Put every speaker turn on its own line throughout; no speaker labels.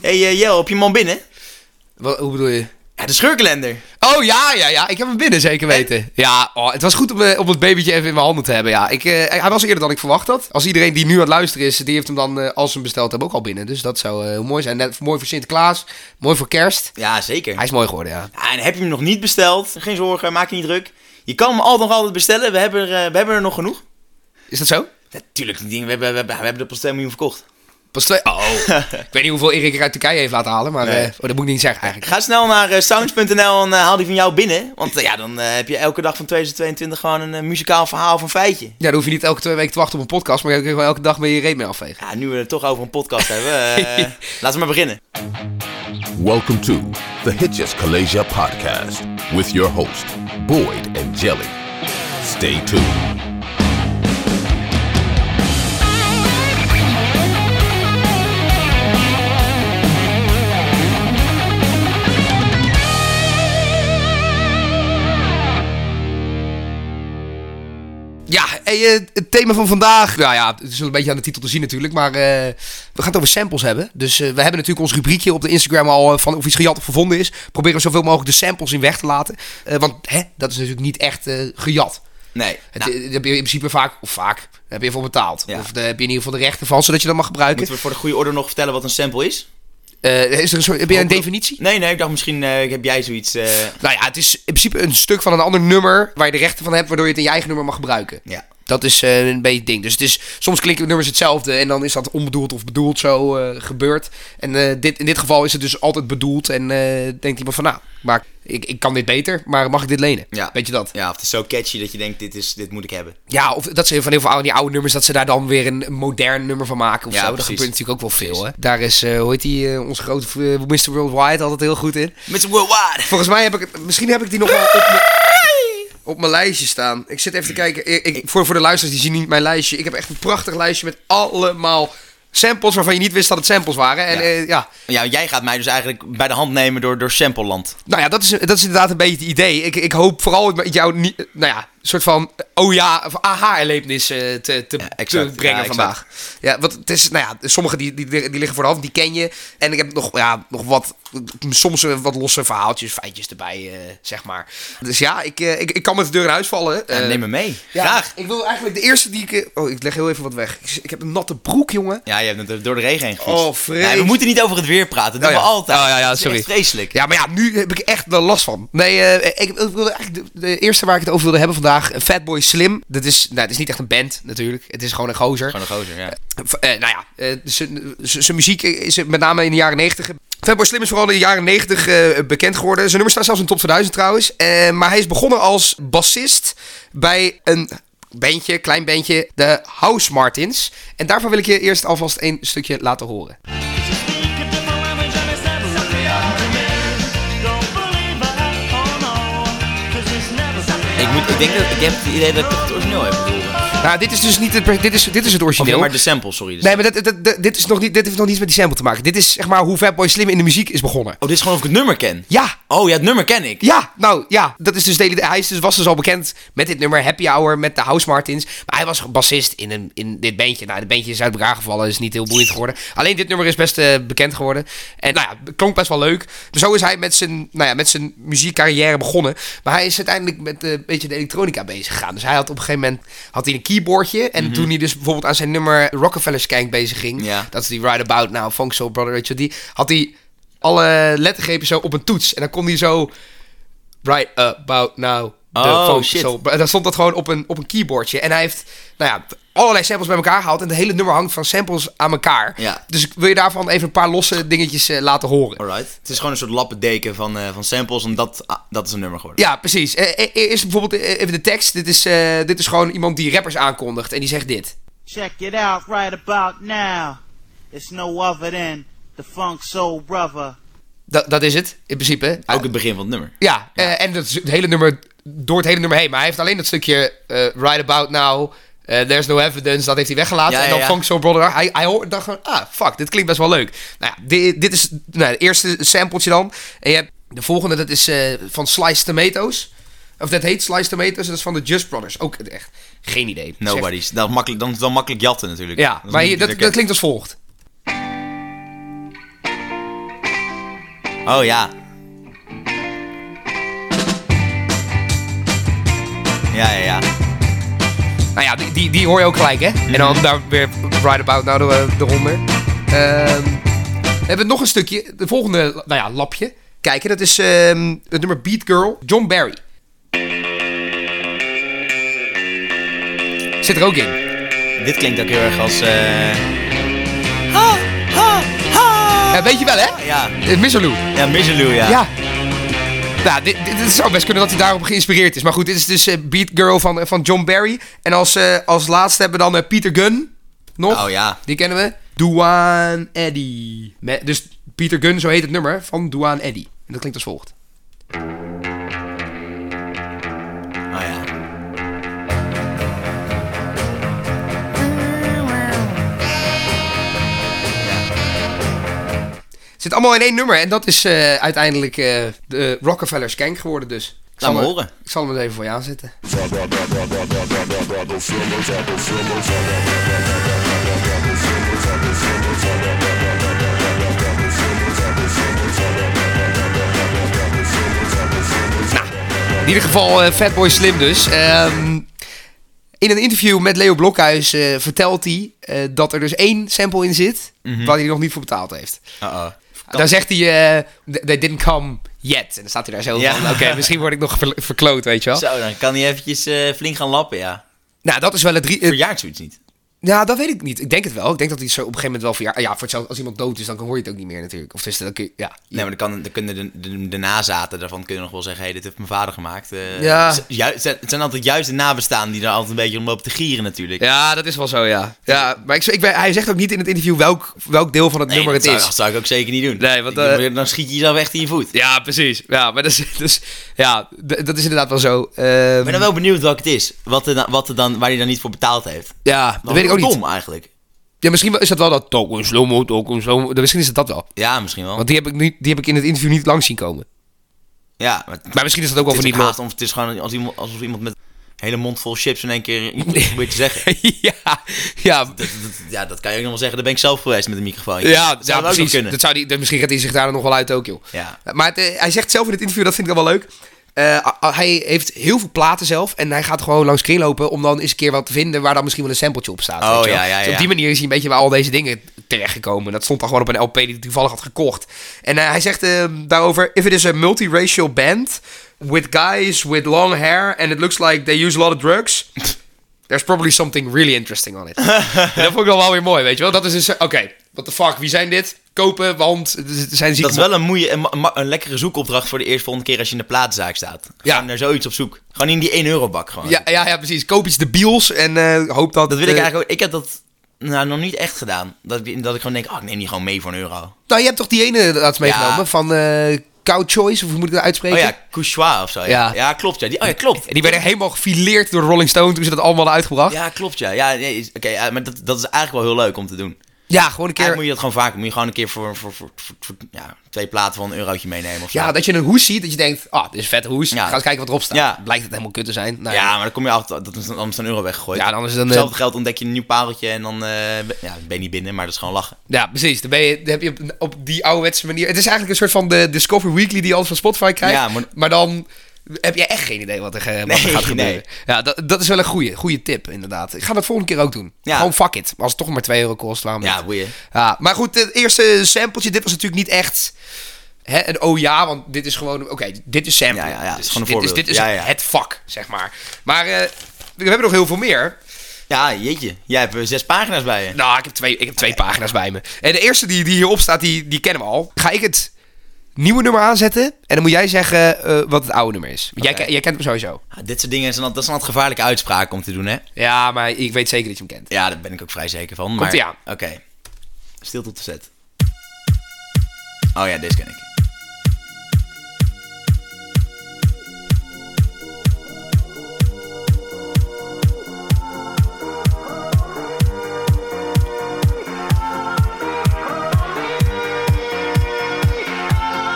hey, eh, Jel, heb je hem al binnen?
Wat, hoe bedoel je?
Ja, de scheurkalender.
Oh ja, ja, ja. Ik heb hem binnen, zeker weten. Ja, oh, het was goed om, eh, om het babytje even in mijn handen te hebben. Ja. Ik, eh, hij was eerder dan ik verwacht had. Als iedereen die nu aan het luisteren is, die heeft hem dan, eh, als ze hem besteld hebben, ook al binnen. Dus dat zou eh, heel mooi zijn. Net, mooi voor Sinterklaas, mooi voor kerst.
Ja, zeker.
Hij is mooi geworden, ja.
Ja, en heb je hem nog niet besteld? Geen zorgen, maak je niet druk. Je kan hem al nog altijd bestellen. We hebben er, eh, we hebben er nog genoeg.
Is dat zo?
Natuurlijk, die dingen, we hebben, we hebben, we hebben er pas 2 miljoen verkocht.
Pas twee. Oh, ik weet niet hoeveel Erik er uit Turkije heeft laten halen, maar
Nee.
eh, oh, dat moet ik niet zeggen eigenlijk.
Ga snel naar eh, sounds.nl en eh, haal die van jou binnen. Want eh, ja, dan eh, heb je elke dag van 2022 gewoon een eh, muzikaal verhaal of een feitje.
Ja, dan hoef je niet elke twee weken te wachten op een podcast, maar je kan gewoon elke dag met je reet mee afvegen.
Ja, nu we het toch over een podcast hebben, eh, laten we maar beginnen.
Welcome to the Hitches Kalasia podcast with your host, Boyd and Jelly. Stay tuned.
Ja, hey, eh, het thema van vandaag. Nou ja, het is wel een beetje aan de titel te zien natuurlijk. Maar eh, we gaan het over samples hebben. Dus eh, we hebben natuurlijk ons rubriekje op de Instagram al eh, van of iets gejat of gevonden is. Proberen we zoveel mogelijk de samples in weg te laten. Eh, want hè, dat is natuurlijk niet echt eh, gejat.
Nee,
Het,
nou,
eh, daar heb je in principe vaak, of vaak, daar heb je voor betaald.
Ja.
Of daar heb je in ieder geval de rechten van, zodat je dat mag gebruiken.
moeten we voor de goede orde nog vertellen wat een sample is?
Eh, is er een soort, heb je een definitie?
Nee, nee, ik dacht misschien eh, heb jij zoiets... eh,
Nou ja, het is in principe een stuk van een ander nummer waar je de rechten van hebt, waardoor je het in je eigen nummer mag gebruiken.
ja.
Dat is eh, een beetje het ding. Dus het is, soms klinken nummers hetzelfde en dan is dat onbedoeld of bedoeld zo eh, gebeurd. En eh, dit, in dit geval is het dus altijd bedoeld en eh, denkt iemand van nou, maar ik, ik kan dit beter, maar mag ik dit lenen?
Ja.
Weet je dat?
ja, of het is zo catchy dat je denkt, dit, is, dit moet ik hebben.
Ja, of dat ze van heel veel oude, die oude nummers, dat ze daar dan weer een modern nummer van maken of
Ja,
zo. Dat
precies.
gebeurt natuurlijk ook wel veel. Hè? Daar is, eh hoe heet die, eh, onze grote eh, Mr. Worldwide altijd heel goed in.
Met z'n worldwide!
Volgens mij heb ik het. Misschien heb ik die nog wel op mijn, op mijn lijstje staan. Ik zit even te kijken. Ik, ik- voor, voor de luisteraars die zien niet mijn lijstje. Ik heb echt een prachtig lijstje met allemaal samples waarvan je niet wist dat het samples waren. En
Ja.
ja. ja.
Ja, want jij gaat mij dus eigenlijk bij de hand nemen door, door Sampleland.
Nou ja, dat is, dat is inderdaad een beetje het idee. Ik, ik hoop vooral met jou niet. Nou ja, een soort van. Oh ja, of aha-erlevenis eh, te, te,
exact.
te brengen
Ja, exact.
vandaag. Ja, want het is. Nou ja, sommige die, die, die liggen voor de hand, die ken je. En ik heb nog, ja, nog wat. Soms eh, wat losse verhaaltjes, feitjes erbij, eh, zeg maar. Dus ja, ik, eh, ik, ik kan met de deur in huis vallen.
Ja,
Eh,
neem me mee.
ja,
Graag.
Ik wil eigenlijk de eerste die ik. eh, Oh, ik leg heel even wat weg. Ik, ik heb een natte broek, jongen.
Ja, je hebt het door de regen heen gefietst.
Oh, vreselijk.
Ja, we moeten niet over het weer praten. Dat
Oh,
doen
ja.
we altijd.
Oh, ja, ja,
Het is
sorry.
echt vreselijk.
Ja, maar ja, nu heb ik echt wel last van. Nee, eh, ik, ik wilde eigenlijk de, de eerste waar ik het over wilde hebben vandaag, eh, Fatboy Slim. Dat is, nou, het is niet echt een band natuurlijk. Het is gewoon een gozer.
Gewoon een gozer, ja.
V- eh, nou ja, eh, zijn- zijn zijn muziek is met name in de jaren 90. Fatboy Slim is vooral in de jaren 90 eh, bekend geworden. Zijn nummer staat zelfs in de top 2000 trouwens. Eh, maar hij is begonnen als bassist bij een bandje, klein bandje, de House Martins. En daarvan wil ik je eerst alvast een stukje laten horen.
Ik, moet, ik denk dat ik heb het idee dat ik het origineel heb bedoeld.
Nou, dit is dus niet het, dit is, dit is het
Of
origineel.
ja, maar de sample, sorry. Dus-
Nee, maar dat, dat, dat- dit, is nog niet, dit heeft nog niets met die sample te maken. Dit is zeg maar hoe Fatboy Slim in de muziek is begonnen.
Oh, dit is gewoon of ik het nummer ken.
Ja,
Oh ja, het nummer ken ik.
ja, nou ja. Dat is dus de, hele- hij is dus, was dus al bekend met dit nummer Happy Hour, met de House Martins. Maar hij was bassist in, een, in dit bandje. Nou, dit bandje is uit elkaar gevallen, is niet heel boeiend geworden. Alleen dit nummer is best eh, bekend geworden. En nou ja, klonk best wel leuk. Dus zo is hij met zijn, nou ja, met zijn muziekcarrière begonnen. Maar hij is uiteindelijk met eh, een beetje de elektronica bezig gegaan. Dus hij had op een gegeven moment had hij een keyboardje. En toen hij dus bijvoorbeeld aan zijn nummer Rockefeller Skank bezig ging.
Ja.
Dat is die Right About Now, Funk Soul Brother, weet je wel, die. Had hij alle lettergrepen zo op een toets. En dan kon hij zo... Right About Now, the
Oh,
Funk
shit.
Soul. En dan stond dat gewoon op een, op een keyboardje. En hij heeft, nou ja... Allerlei samples bij elkaar gehaald. En het hele nummer hangt van samples aan elkaar.
Ja.
Dus ik wil je daarvan even een paar losse dingetjes eh, laten horen.
Alright. Het is gewoon een soort lappendeken van, eh, van samples en dat, ah, dat is een nummer geworden.
Ja, precies. Eh, eh, Eerst bijvoorbeeld eh, even de tekst. Dit is, eh, dit is gewoon iemand die rappers aankondigt. En die zegt dit.
Check it out right about now. It's no other than the Funk Soul Brother.
Dat, dat is het, in principe.
Ook het begin van het nummer.
Ja, eh, en dat is het hele nummer, door het hele nummer heen. Maar hij heeft alleen dat stukje eh Right About Now, eh, There's No Evidence, dat heeft hij weggelaten.
Ja,
en
ja,
dan
ja.
Funk Soul Brother, hij, hij hoort, dacht gewoon, ah, fuck, dit klinkt best wel leuk. Nou ja, dit, dit is nou, het eerste sampletje dan. En je hebt de volgende, dat is eh, van Sliced Tomatoes. Of dat heet Sliced Tomatoes, dat is van de Just Brothers. Ook echt, geen idee. Dat is echt-
Nobody's. Dat is makkelijk, dan, dan makkelijk jatten natuurlijk.
Ja,
is
maar
niet
hier, dat,
lekker.
dat klinkt als volgt.
Oh ja. Ja, ja, ja.
Nou ja, die, die, die hoor je ook gelijk, hè? En dan daar weer Right About Now er- eronder. Ehm, we hebben nog een stukje. De volgende, nou ja, lapje. Kijken, dat is ehm, het nummer Beat Girl, John Barry. Zit er ook in.
Dit klinkt ook heel erg als... eh
Ja, weet je wel, hè?
ja,
Eh, Mr. Lou.
ja Miserloo, ja.
Ja. Nou, dit, dit, dit zou best kunnen dat hij daarop geïnspireerd is. Maar goed, dit is dus eh, Beat Girl van, van John Barry. En als, eh, als laatste hebben we dan eh, Peter Gunn. Nog.
Oh ja.
Die kennen we. Duane Eddy. Met- Dus Peter Gunn, zo heet het nummer, van Duane Eddy. En dat klinkt als volgt.
Oh ja.
Het zit allemaal in één nummer. En dat is eh, uiteindelijk eh, de Rockefeller's Gang geworden dus. Ik
Laat me
hem-
horen.
Ik zal hem eens even voor je aanzetten. Nou, in ieder geval eh, Fatboy Slim dus. Ehm, in een interview met Leo Blokhuis eh, vertelt hij eh, dat er dus één sample in zit
Mhm.
waar hij nog niet voor betaald heeft.
Uh-oh.
Dan zegt hij, eh, they didn't come yet. En dan staat hij daar zo
Ja.
van, oké, misschien word ik nog ver- verkloot, weet je wel.
Zo, dan kan hij eventjes eh, flink gaan lappen, ja.
Nou, dat is wel het... Drie, eh,
Verjaart zoiets niet.
nou, dat weet ik niet. Ik denk het wel. Ik denk dat hij zo op een gegeven moment wel verjaardag... Ja, voor hetzelfde, als iemand dood is, dan hoor je het ook niet meer natuurlijk. Of dus, dan kun je, ja.
Nee, maar dan, kan, dan kunnen de, de, de nazaten daarvan kunnen nog wel zeggen... hey, dit heeft mijn vader gemaakt. Eh,
Ja.
z- ju- het zijn- het zijn altijd juist de nabestaanden die daar altijd een beetje om lopen te gieren natuurlijk.
Ja, dat is wel zo, ja. ja maar ik, ik, ben- hij zegt ook niet in het interview welk, welk deel van het
Nee,
nummer
dat
het
zou,
is.
dat zou ik ook zeker niet doen.
Nee, want,
Ik-
eh,
dan schiet je jezelf echt in je voet.
Ja, precies. Ja, maar dat is, dus, ja, d- dat is inderdaad wel zo. Ehm,
Ik ben dan wel benieuwd welk het is. Wat er dan, wat er dan, waar hij dan niet voor betaald heeft.
ja, dat
Dan
weet ik ook niet.
dom eigenlijk.
Ja, misschien wel- is dat wel dat... Toko slow-mo, toko slow-mo. Misschien is het dat wel.
Ja, misschien wel.
Want die heb, ik niet, die heb ik in het interview niet lang zien komen.
ja, maar,
Maar misschien is dat ook wel
het,
voor
is
niet
ook
laat.
haast, of het is gewoon als iemand, alsof iemand met een hele mond vol chips in één keer iets probeert te zeggen.
ja, ja,
Dat, dat- ja, dat kan je ook nog wel zeggen. Daar ben ik zelf geweest met een microfoon.
ja,
dat
ja
zou ook nog
precies.
kunnen.
Dat zou die, dat, misschien gaat hij zich daar dan nog wel uit ook, joh.
Ja.
Maar het, eh, hij zegt zelf in het interview, dat vind ik dan wel leuk. eh, a- a- hij heeft heel veel platen zelf en hij gaat gewoon langs kringlopen om dan eens een keer wat te vinden waar dan misschien wel een sampletje op staat.
Oh,
weet je wel.
ja, ja,
Dus op
ja.
die manier is hij een beetje bij al deze dingen terechtgekomen. Dat stond dan gewoon op een LP die hij toevallig had gekocht. En eh, hij zegt eh, daarover, if it is a multiracial band with guys with long hair and it looks like they use a lot of drugs... There's probably something really interesting on it. En dat vond ik dan wel weer mooi, weet je wel. Dat is dus, oké, what the fuck, wie zijn dit? Kopen, want er zijn zieke
Dat is wel een, moeie, een, ma- ma- een lekkere zoekopdracht voor de eerste volgende keer als je in de platenzaak staat.
Ja.
Gewoon naar zoiets op zoek. Gewoon in die 1 euro bak gewoon.
Ja, ja, ja, precies. Koop iets debiels en eh, hoop dat...
Dat wil ik
eh,
eigenlijk ook. Ik heb dat nou, nog niet echt gedaan. Dat, ik- dat ik gewoon denk, oh, ik neem die gewoon mee voor een euro.
Nou, je hebt toch die ene laatst meegenomen
Ja.
van eh Cow Choice, of hoe moet ik dat uitspreken?
Oh ja, Couchoir of zo. Ja,
Ja.
ja. klopt. Ja. Die, oh ja, klopt.
En die werden helemaal gefileerd door de Rolling Stone toen ze dat allemaal hadden uitgebracht. Ja,
Ja, klopt ja. ja nee, is- Oké, ja, maar dat, dat is eigenlijk wel heel leuk om te doen.
gewoon een keer...
Eigenlijk moet je dat gewoon vaak Moet je gewoon een keer voor, voor, voor, voor- voor- ja, twee platen van een eurotje meenemen of zo.
Ja, dat je een hoes ziet, dat je denkt, ah, dit is een vette hoes.
Ja.
Ga eens kijken wat erop staat.
Ja.
Blijkt het helemaal kut te zijn. Nou,
Ja, maar dan kom je achter, dat is dan anders een euro weggegooid.
Ja, dan is het een,
Hetzelfde
eh,
geld ontdek je een nieuw pareltje en dan eh, ben- ja, ben je niet binnen, maar dat is gewoon lachen.
Ja, precies. Dan, ben je, dan heb je op, op die ouderwetse manier... Het is eigenlijk een soort van de Discovery Weekly die je altijd van Spotify krijgt.
Ja, maar-
dan heb je echt geen idee wat er, ge- wat er
Nee,
gaat gebeuren.
nee.
Ja, dat, dat is wel een goede, goede tip, inderdaad. Ik ga dat volgende keer ook doen.
Ja.
Gewoon fuck it. Als het toch maar 2 euro kost, laat me
Ja,
het.
boeien.
Ja, maar goed, het eerste sampletje. Dit was natuurlijk niet echt... Hè, een oh ja, want dit is gewoon... Oké, dit is sample.
Ja, ja, ja, het is
Dus
gewoon een
dit, is,
voorbeeld.
dit is
Ja, ja.
het vak, zeg maar. Maar eh, we hebben nog heel veel meer.
Ja, jeetje. Jij hebt eh, zes pagina's bij je.
Nou, ik heb twee, ik heb twee pagina's bij me. En de eerste die, die hierop staat, die, die kennen we al. Ga ik het nieuwe nummer aanzetten en dan moet jij zeggen eh, wat het oude nummer is. Want Jij, ke- jij kent hem sowieso.
Ah, dit soort dingen, zijn al- dat zijn altijd gevaarlijke uitspraken om te doen, hè?
Ja, maar ik weet zeker dat je hem kent.
Ja, daar ben ik ook vrij zeker van. Maar...
ie aan.
Oké. Stil tot de set. Oh ja, deze ken ik.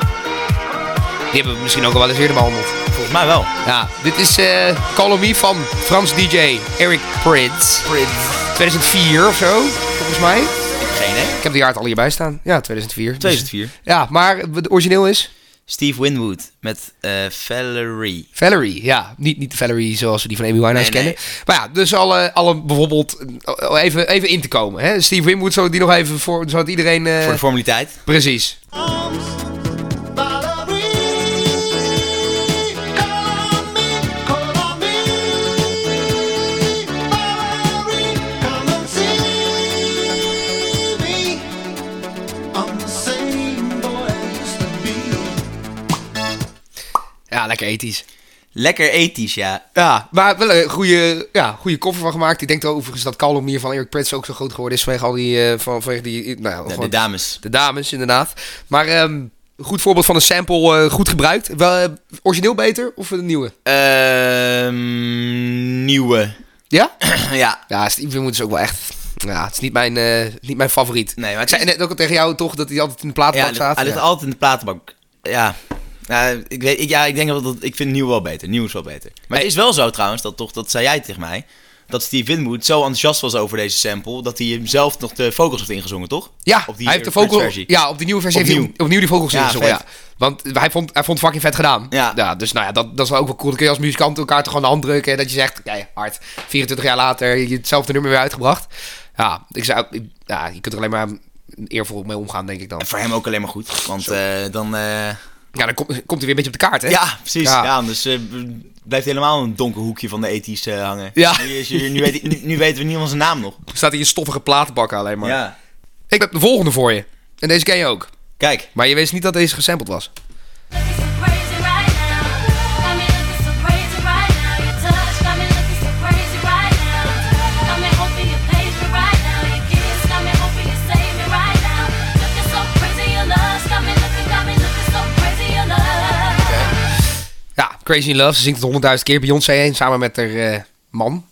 Die hebben we misschien ook al wel eens eerder behandeld.
Volgens mij wel.
Ja, dit is eh Call On Me van Frans DJ Eric Prydz. 2004 of zo, volgens mij.
geen, hè?
Ik heb de jaart al hierbij staan. Ja, 2004. Dus-
2004.
ja, maar het origineel is?
Steve Winwood met eh, Valerie.
Valerie, ja. Niet, niet de Valerie zoals we die van Amy Winehouse
Nee, nee.
kennen. Maar ja, dus alle, alle bijvoorbeeld eh, even, even in te komen. Hè? Steve Winwood, zo die nog even voor, zodat iedereen... eh,
Voor de formaliteit.
Precies. Ja, lekker ethisch.
Lekker ethisch, ja.
Ja, maar wel een goede, ja, goede koffer van gemaakt. Ik denk overigens dat Call hier van Eric Prets ook zo groot geworden is vanwege al die, eh, van, vanwege die, nou, ja,
De, de
gewoon-
dames.
de dames inderdaad. Maar ehm, goed voorbeeld van een sample, eh, goed gebruikt. Wel, eh, origineel beter of een nieuwe?
Ehm, nieuwe.
Ja?
ja.
Ja, Steve Winwood is ook wel echt. Ja, het is niet mijn, eh, niet mijn favoriet.
Nee, maar
Ik
het
zei
is-
net ook al tegen jou toch dat hij altijd in de
Ja,
platenbak
hij ligt-
staat.
hij ligt
Ja.
altijd in de platenbak. Ja. Nou, ik, weet, ik, ja, ik denk dat, dat- ik vind nieuw wel beter. Nieuw is wel beter. Maar het is wel zo trouwens, dat toch, dat zei jij tegen mij, dat Steve Winwood zo enthousiast was over deze sample, dat hij hem zelf nog de vocals heeft ingezongen, toch?
Ja,
Op die
hij heeft de
Prince
vogel,
versie.
ja, op die nieuwe versie heeft hij
Opnieuw.
opnieuw die vogels
Ja,
ingezongen. Ja.
vet.
Want hij vond, hij vond het fucking vet gedaan.
Ja.
dus nou ja, dat, dat is wel ook wel cool. Dan kun je als muzikant elkaar toch gewoon de hand drukken. En dat je zegt, kijk, hard. 24 jaar later, je hebt hetzelfde nummer weer uitgebracht. Ja, ik zou, ik- ja, je kunt er alleen maar eervol mee omgaan, denk ik dan.
En voor hem ook alleen maar goed, want eh, dan... eh,
Ja, dan kom- komt hij weer een beetje op de kaart, hè?
Ja, precies.
Ja.
Ja, dus eh, b- blijft helemaal een donker hoekje van de ethisch eh, hangen.
Ja.
Nu, is hier- nu, weet, nu, nu weten we niet van zijn naam nog.
Staat hij in stoffige platenbakken alleen maar.
Ja.
Ik heb de volgende voor je. En deze ken je ook.
Kijk.
Maar je wist niet dat deze gesampled was. Ja, Crazy in Love. Ze zingt het honderdduizend keer Beyoncé heen. Samen met haar eh, man.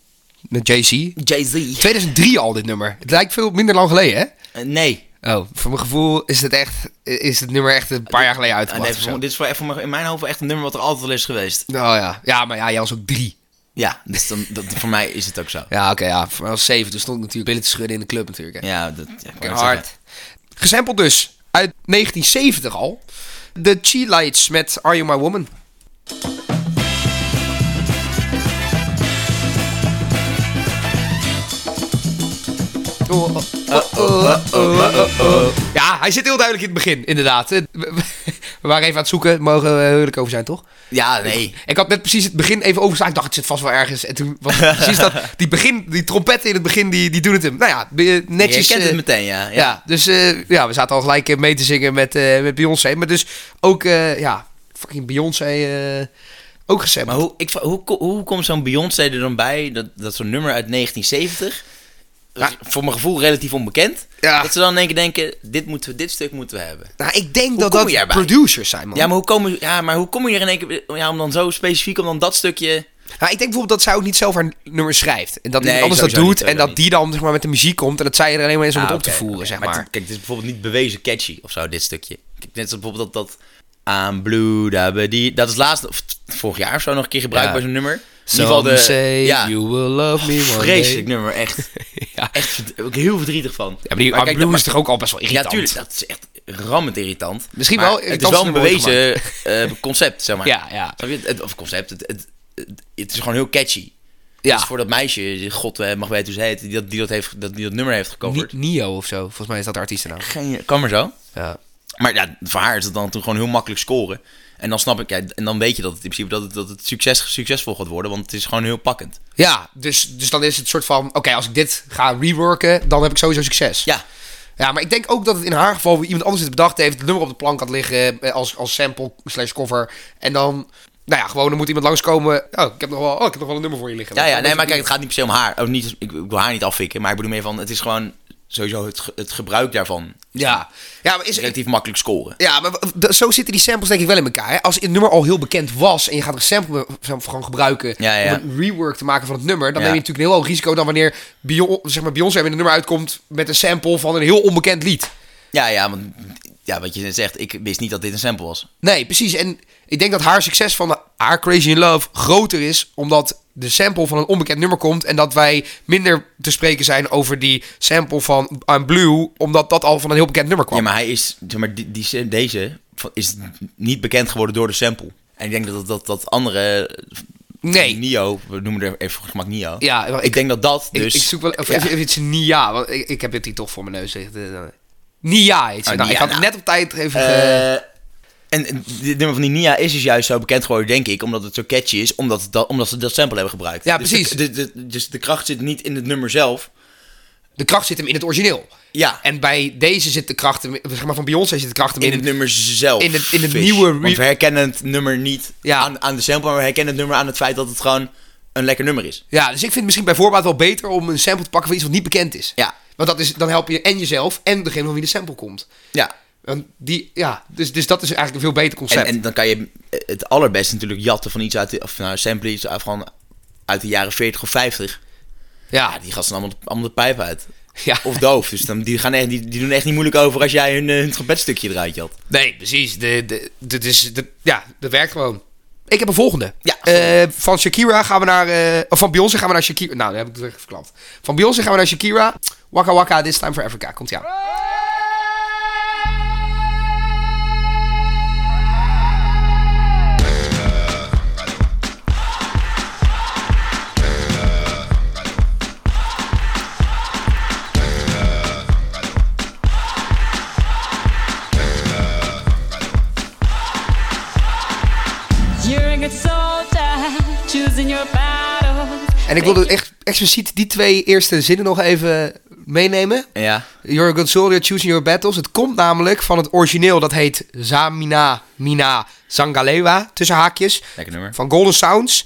Met Jay-Z.
Jay-Z.
2003 al dit nummer. Het lijkt veel minder lang geleden, hè?
nee.
Oh, voor mijn gevoel is het echt, is het nummer echt een paar jaar geleden
Ah, nee,
uitgebracht. of zo.
voor- dit is voor, echt voor mijn, in mijn hoofd echt een nummer wat er altijd al is geweest.
Oh ja, ja, maar ja, jij was ook drie.
Ja, dus dan, dat, voor mij is het ook zo. Ja,
Ja, oké, ja. Voor mij was zeven. Toen stond ik natuurlijk billen te schudden in de club natuurlijk. Hè.
dat ja, ik wou
Fucking
net
hard.
zeggen.
Gesampled dus uit 1970 al. De Chi Lights met Are You My Woman. Oh, oh, oh, oh, oh, oh, oh. Ja, hij zit heel duidelijk in het begin, inderdaad. We we waren even aan het zoeken, mogen we heerlijk over zijn, toch?
Ja, nee.
Ik had net precies het begin even overstaan. Ik dacht, het zit vast wel ergens. En toen was het precies dat, die begin, die trompetten in het begin, die, die doen het hem. Nou ja, be- netjes.
je kent
eh,
het meteen, ja. ja.
ja. dus eh, ja, we zaten al gelijk eh, mee te zingen met, eh, met Beyoncé. Maar dus ook, eh, ja, fucking Beyoncé eh, ook
Maar
gesampled.
hoe, ik, vra- hoe, ko- hoe komt zo'n Beyoncé er dan bij, dat, dat zo'n nummer uit 1970, dat is voor mijn gevoel relatief onbekend,
Ja.
dat ze dan in één keer denken, dit, moeten we, dit stuk moeten we hebben.
Nou, ik denk dat
kom
dat
je erbij?
producers zijn, man.
Ja, maar hoe kom je, ja, maar hoe kom je er in één keer... Ja, om dan zo specifiek, om dan dat stukje...
Nou, ik denk bijvoorbeeld dat zij ook niet zelf haar nummers schrijft. En dat
Nee,
iemand anders dat
sowieso
doet.
niet,
en dat
sowieso
die dan zeg maar, met de muziek komt. En dat zij er alleen maar is om
Ah,
het op
oké,
te voeren,
oké.
zeg
het-
maar.
kijk, het is bijvoorbeeld niet bewezen catchy of zo, dit stukje. Kijk, Net als bijvoorbeeld dat... dat I'm blue, da, ba, die, dat is laatst, of t- vorig jaar of zo, nog een keer gebruikt
Ja.
bij zo'n nummer. In
Some
ieder geval de...
say
ja,
you will love me one
vreselijk
day.
nummer, echt.
Ja.
Echt, verd- ook heel verdrietig van.
Ja, maar die
Maar
maar
kijk,
Blue
dat-
is toch ook al best wel
Ja,
irritant?
tuurlijk, dat is echt rammend irritant.
Misschien
Maar
wel
Het is
irritant
wel een
nummer ooit
bewezen eh, concept, zeg maar.
Ja, ja.
Snap je? Het, of concept, het, het, het, het is gewoon heel catchy.
Ja.
Dus voor dat meisje, die god eh, mag weten hoe ze heet, die dat, die dat, heeft, dat, die dat nummer heeft gecoverd.
Ni- Nio of zo, volgens mij is dat de artiestennaam.
Geen, kan maar zo.
Ja.
Maar ja, voor haar is het dan toen gewoon heel makkelijk scoren. En dan snap ik, ja, en dan weet je dat het in principe dat het, dat het succes, succesvol gaat worden, want het is gewoon heel pakkend.
Ja, dus, dus dan is het soort van: oké, als ik dit ga reworken, dan heb ik sowieso succes.
Ja,
Ja, maar ik denk ook dat het in haar geval weer iemand anders het bedacht heeft, het nummer op de plank had liggen eh, als, als sample slash cover. En dan, nou ja, gewoon, dan moet iemand langskomen. Oh, ik heb nog wel, oh, ik heb nog wel een nummer voor je liggen.
ja, ja nee,
Dan-
maar kijk, het gaat niet per se om haar. Oh, niet, ik, ik wil haar niet afvikken, maar ik bedoel meer van, het is gewoon sowieso het, ge- het gebruik daarvan.
Ja, ja maar, is,
Relatief makkelijk scoren.
ja, maar w- d- zo zitten die samples denk ik wel in elkaar. Hè? Als het nummer al heel bekend was en je gaat een sample sam- gewoon gebruiken
Ja, ja.
om een rework te maken van het nummer, dan
Ja.
neem je natuurlijk een heel hoog risico dan wanneer Bion, zeg maar, Beyoncé met een nummer uitkomt met een sample van een heel onbekend lied.
Ja, ja, want ja, wat je net zegt, ik wist niet dat dit een sample was.
Nee, precies. En ik denk dat haar succes van Our Crazy in Love groter is, omdat de sample van een onbekend nummer komt en dat wij minder te spreken zijn over die sample van I'm Blue, omdat dat al van een heel bekend nummer kwam.
Ja, maar hij is, zeg maar, die, die- deze is niet bekend geworden door de sample. En ik denk dat dat, dat andere,
Nee.
Nio, we noemen er even voor het gemak Nio.
Ja, wel,
ik,
ik-
denk dat dat
Ik-
dus...
Ik, zoek wel of
ja.
even, even iets Nia, want ik, ik heb dit hier toch voor mijn neus liggen. Nia heet ze.
Oh,
nou,
Nia,
ik had het
nou.
net op tijd even... ge-
Eh, en en dit nummer van die Nia is dus juist zo bekend geworden, denk ik, omdat het zo catchy is, omdat, het dat, omdat ze dat sample hebben gebruikt.
Ja,
Dus
precies.
de- de- de- dus de kracht zit niet in het nummer zelf.
de kracht zit hem in het origineel.
Ja,
En bij deze zit de kracht hem, zeg maar van Beyoncé zit de kracht hem
in
in,
het nummer zelf.
in het- in het
Fish.
nieuwe re-
Want we herkennen het nummer niet
Ja.
aan, aan de sample, maar we herkennen het nummer aan het feit dat het gewoon een lekker nummer is.
Ja, dus ik vind het misschien bij voorbaat wel beter om een sample te pakken van iets wat niet bekend is.
Ja.
Want dat is, dan help je en jezelf en degene van wie de sample komt.
Ja.
Want die, ja, dus, dus dat is eigenlijk een veel beter concept.
En, en dan kan je eh, het allerbeste natuurlijk jatten van iets uit, de, of nou, sample iets uit- van uit de jaren 40 of 50.
ja,
Ja, die gasten allemaal, de- allemaal de pijp uit.
ja.
Of doof. Dus dan, die, gaan echt, die, die doen echt niet moeilijk over als jij hun, eh, hun trompetstukje eruit jat.
Nee, precies. De, de, dit is, de- ja, dat werkt gewoon. Ik heb een volgende.
Ja.
Eh, van Shakira gaan we naar... eh, of van Beyoncé gaan we naar Shakira. Nou, dat heb ik het echt verklapt. Van Beyoncé gaan we naar Shakira. Waka Waka, This Time for Africa. Komt ja.
You're a good soldier, choosing your battles.
En ik wilde echt expliciet die twee eerste zinnen nog even meenemen.
Ja.
You're a good soldier, choosing your battles. Het komt namelijk van het origineel. Dat heet Zamina Mina Zangalewa. Tussen haakjes.
Lekker nummer.
Van Golden Sounds.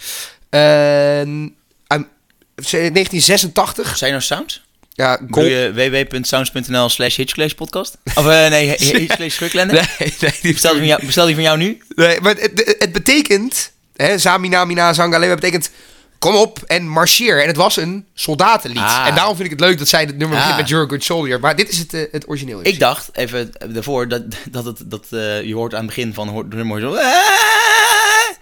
Eh, I'm- 1986.
Zijn er nou sounds?
Ja,
Doe
Gol-
je www.sounds.nl slash Hitchclash podcast? Of eh, nee, Hi- Hi- Hitchclash Schuklender?
Nee, nee, die
Bestel die van jou- bestel die van jou nu?
Nee, maar het, het betekent, hè, Zamina Mina Zangalewa betekent, kom op en marcheer. En het was een soldatenlied.
Ah.
En daarom vind ik het leuk dat zij het nummer begint
Ah.
met You're a Good Soldier. Maar dit is het, eh, het origineel.
Ik dacht, even daarvoor, dat, dat, het, dat eh, je hoort aan het begin van hoort- het nummer zo...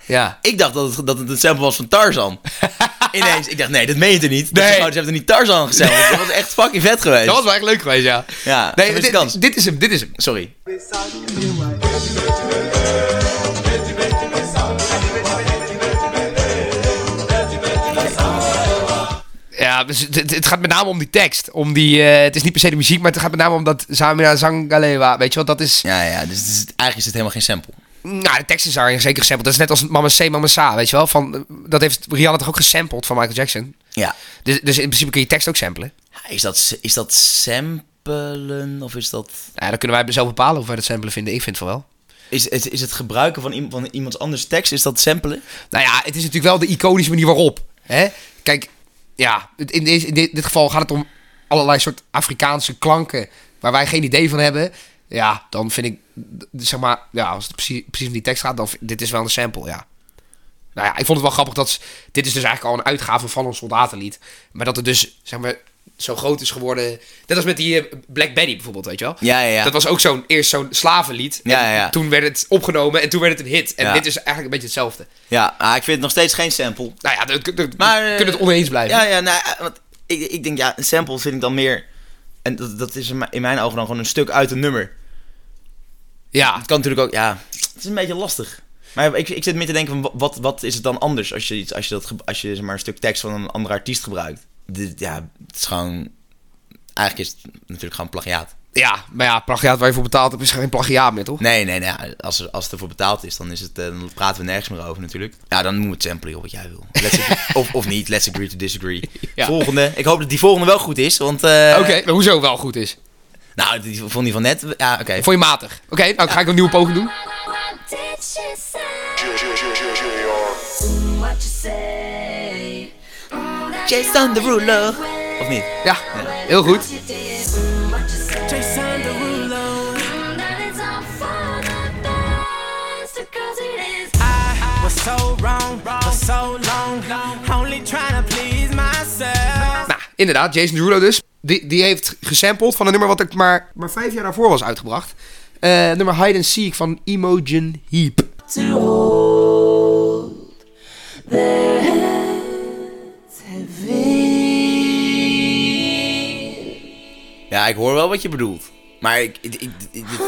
Ja.
Ik dacht dat het, dat het een sample was van Tarzan. Ineens, ik dacht, nee, dat meen je er niet. Nee.
Nee.
Ze hebben er niet Tarzan gesampled. Dat was echt fucking vet geweest.
Dat was wel echt leuk geweest, ja.
Ja,
nee,
gemiste
dit,
kans.
dit is hem, dit is hem.
Sorry.
Ja, dus het, het- het gaat met name om die tekst. Om die, eh, het is niet per se de muziek, maar het gaat met name om dat Zamina Zangalewa. Weet je wat, dat is...
Ja, ja, dus het is, eigenlijk is het helemaal geen sample.
Nou, de tekst is daar zeker gesampled. Dat is net als Mama C, Mama Sa, weet je wel. Van, eh, dat heeft Rihanna toch ook gesampled van Michael Jackson.
Ja.
Dus, dus in principe kun je tekst ook samplen.
Is dat, is dat samplen of is dat...
Nou, dan kunnen wij zelf bepalen of wij dat samplen vinden. Ik vind van wel.
Is, is, is het gebruiken van, iem- van iemands anders tekst, is dat samplen?
Nou ja, het is natuurlijk wel de iconische manier waarop. Hè? Kijk, ja, het- in, deze- in dit, dit geval gaat het om allerlei soort Afrikaanse klanken waar wij geen idee van hebben. Ja, dan vind ik, d- zeg maar, ja, als het precies, precies om die tekst gaat, dan vind- dit is wel een sample, ja. Nou ja, ik vond het wel grappig dat, ze- dit is dus eigenlijk al een uitgave van een soldatenlied. Maar dat het dus, zeg maar, zo groot is geworden. Net als met die eh, Black Betty bijvoorbeeld, weet je wel.
Ja, ja, ja.
Dat was ook zo'n, eerst zo'n slavenlied. En
Ja, ja, ja.
Toen werd het opgenomen en toen werd het een hit. En
Ja.
dit is eigenlijk een beetje hetzelfde.
Ja, ah, ik vind het nog steeds geen sample.
Nou ja, dat- dat- dat-
Maar,
we
eh,
kunnen het oneens blijven.
Ja, ja, nou, eh, want ik, ik denk, ja, een sample vind ik dan meer... En dat, dat is in mijn- in mijn ogen dan gewoon een stuk uit een nummer.
Ja.
Het kan natuurlijk ook, ja, het is een beetje lastig. Maar ik, ik zit meer te denken van, wa- wat, wat is het dan anders als je, iets, als je, dat, ge- als je zeg maar, een stuk tekst van een andere artiest gebruikt? Dit, ja, het is gewoon, eigenlijk is het natuurlijk gewoon plagiaat.
ja, maar ja, plagiaat waar je voor betaald hebt is geen plagiaat meer, toch?
Nee, nee, nee, ja, als, er- als het ervoor betaald is, dan, is het, eh, dan praten we nergens meer over natuurlijk. Ja, dan moet het samplen joh, wat jij wil. Let's agree- of, of niet, let's agree to disagree.
Ja.
Volgende, ik hoop dat die volgende wel goed is, want... eh,
Oké, maar hoezo wel goed is.
Nou, die vond die van net, ja, oké.
Vond je matig? Oké, nou ga ik een nieuwe poging doen.
What did she say?
Jason Derulo. Of niet?
Ja, heel goed. Oh,
Jason Derulo. That it's all for the best because it is.
was so wrong for so long. Only trying to please myself.
Nou, inderdaad, Jason Derulo dus. Die, die heeft gesampled van een nummer wat ik maar, maar vijf jaar daarvoor was uitgebracht. Eh, nummer Hide and Seek van Imogen Heap.
to hold
Their heads heavy.
Ja, ik hoor wel wat je bedoelt. Maar ik, ik, ik- ik- dit-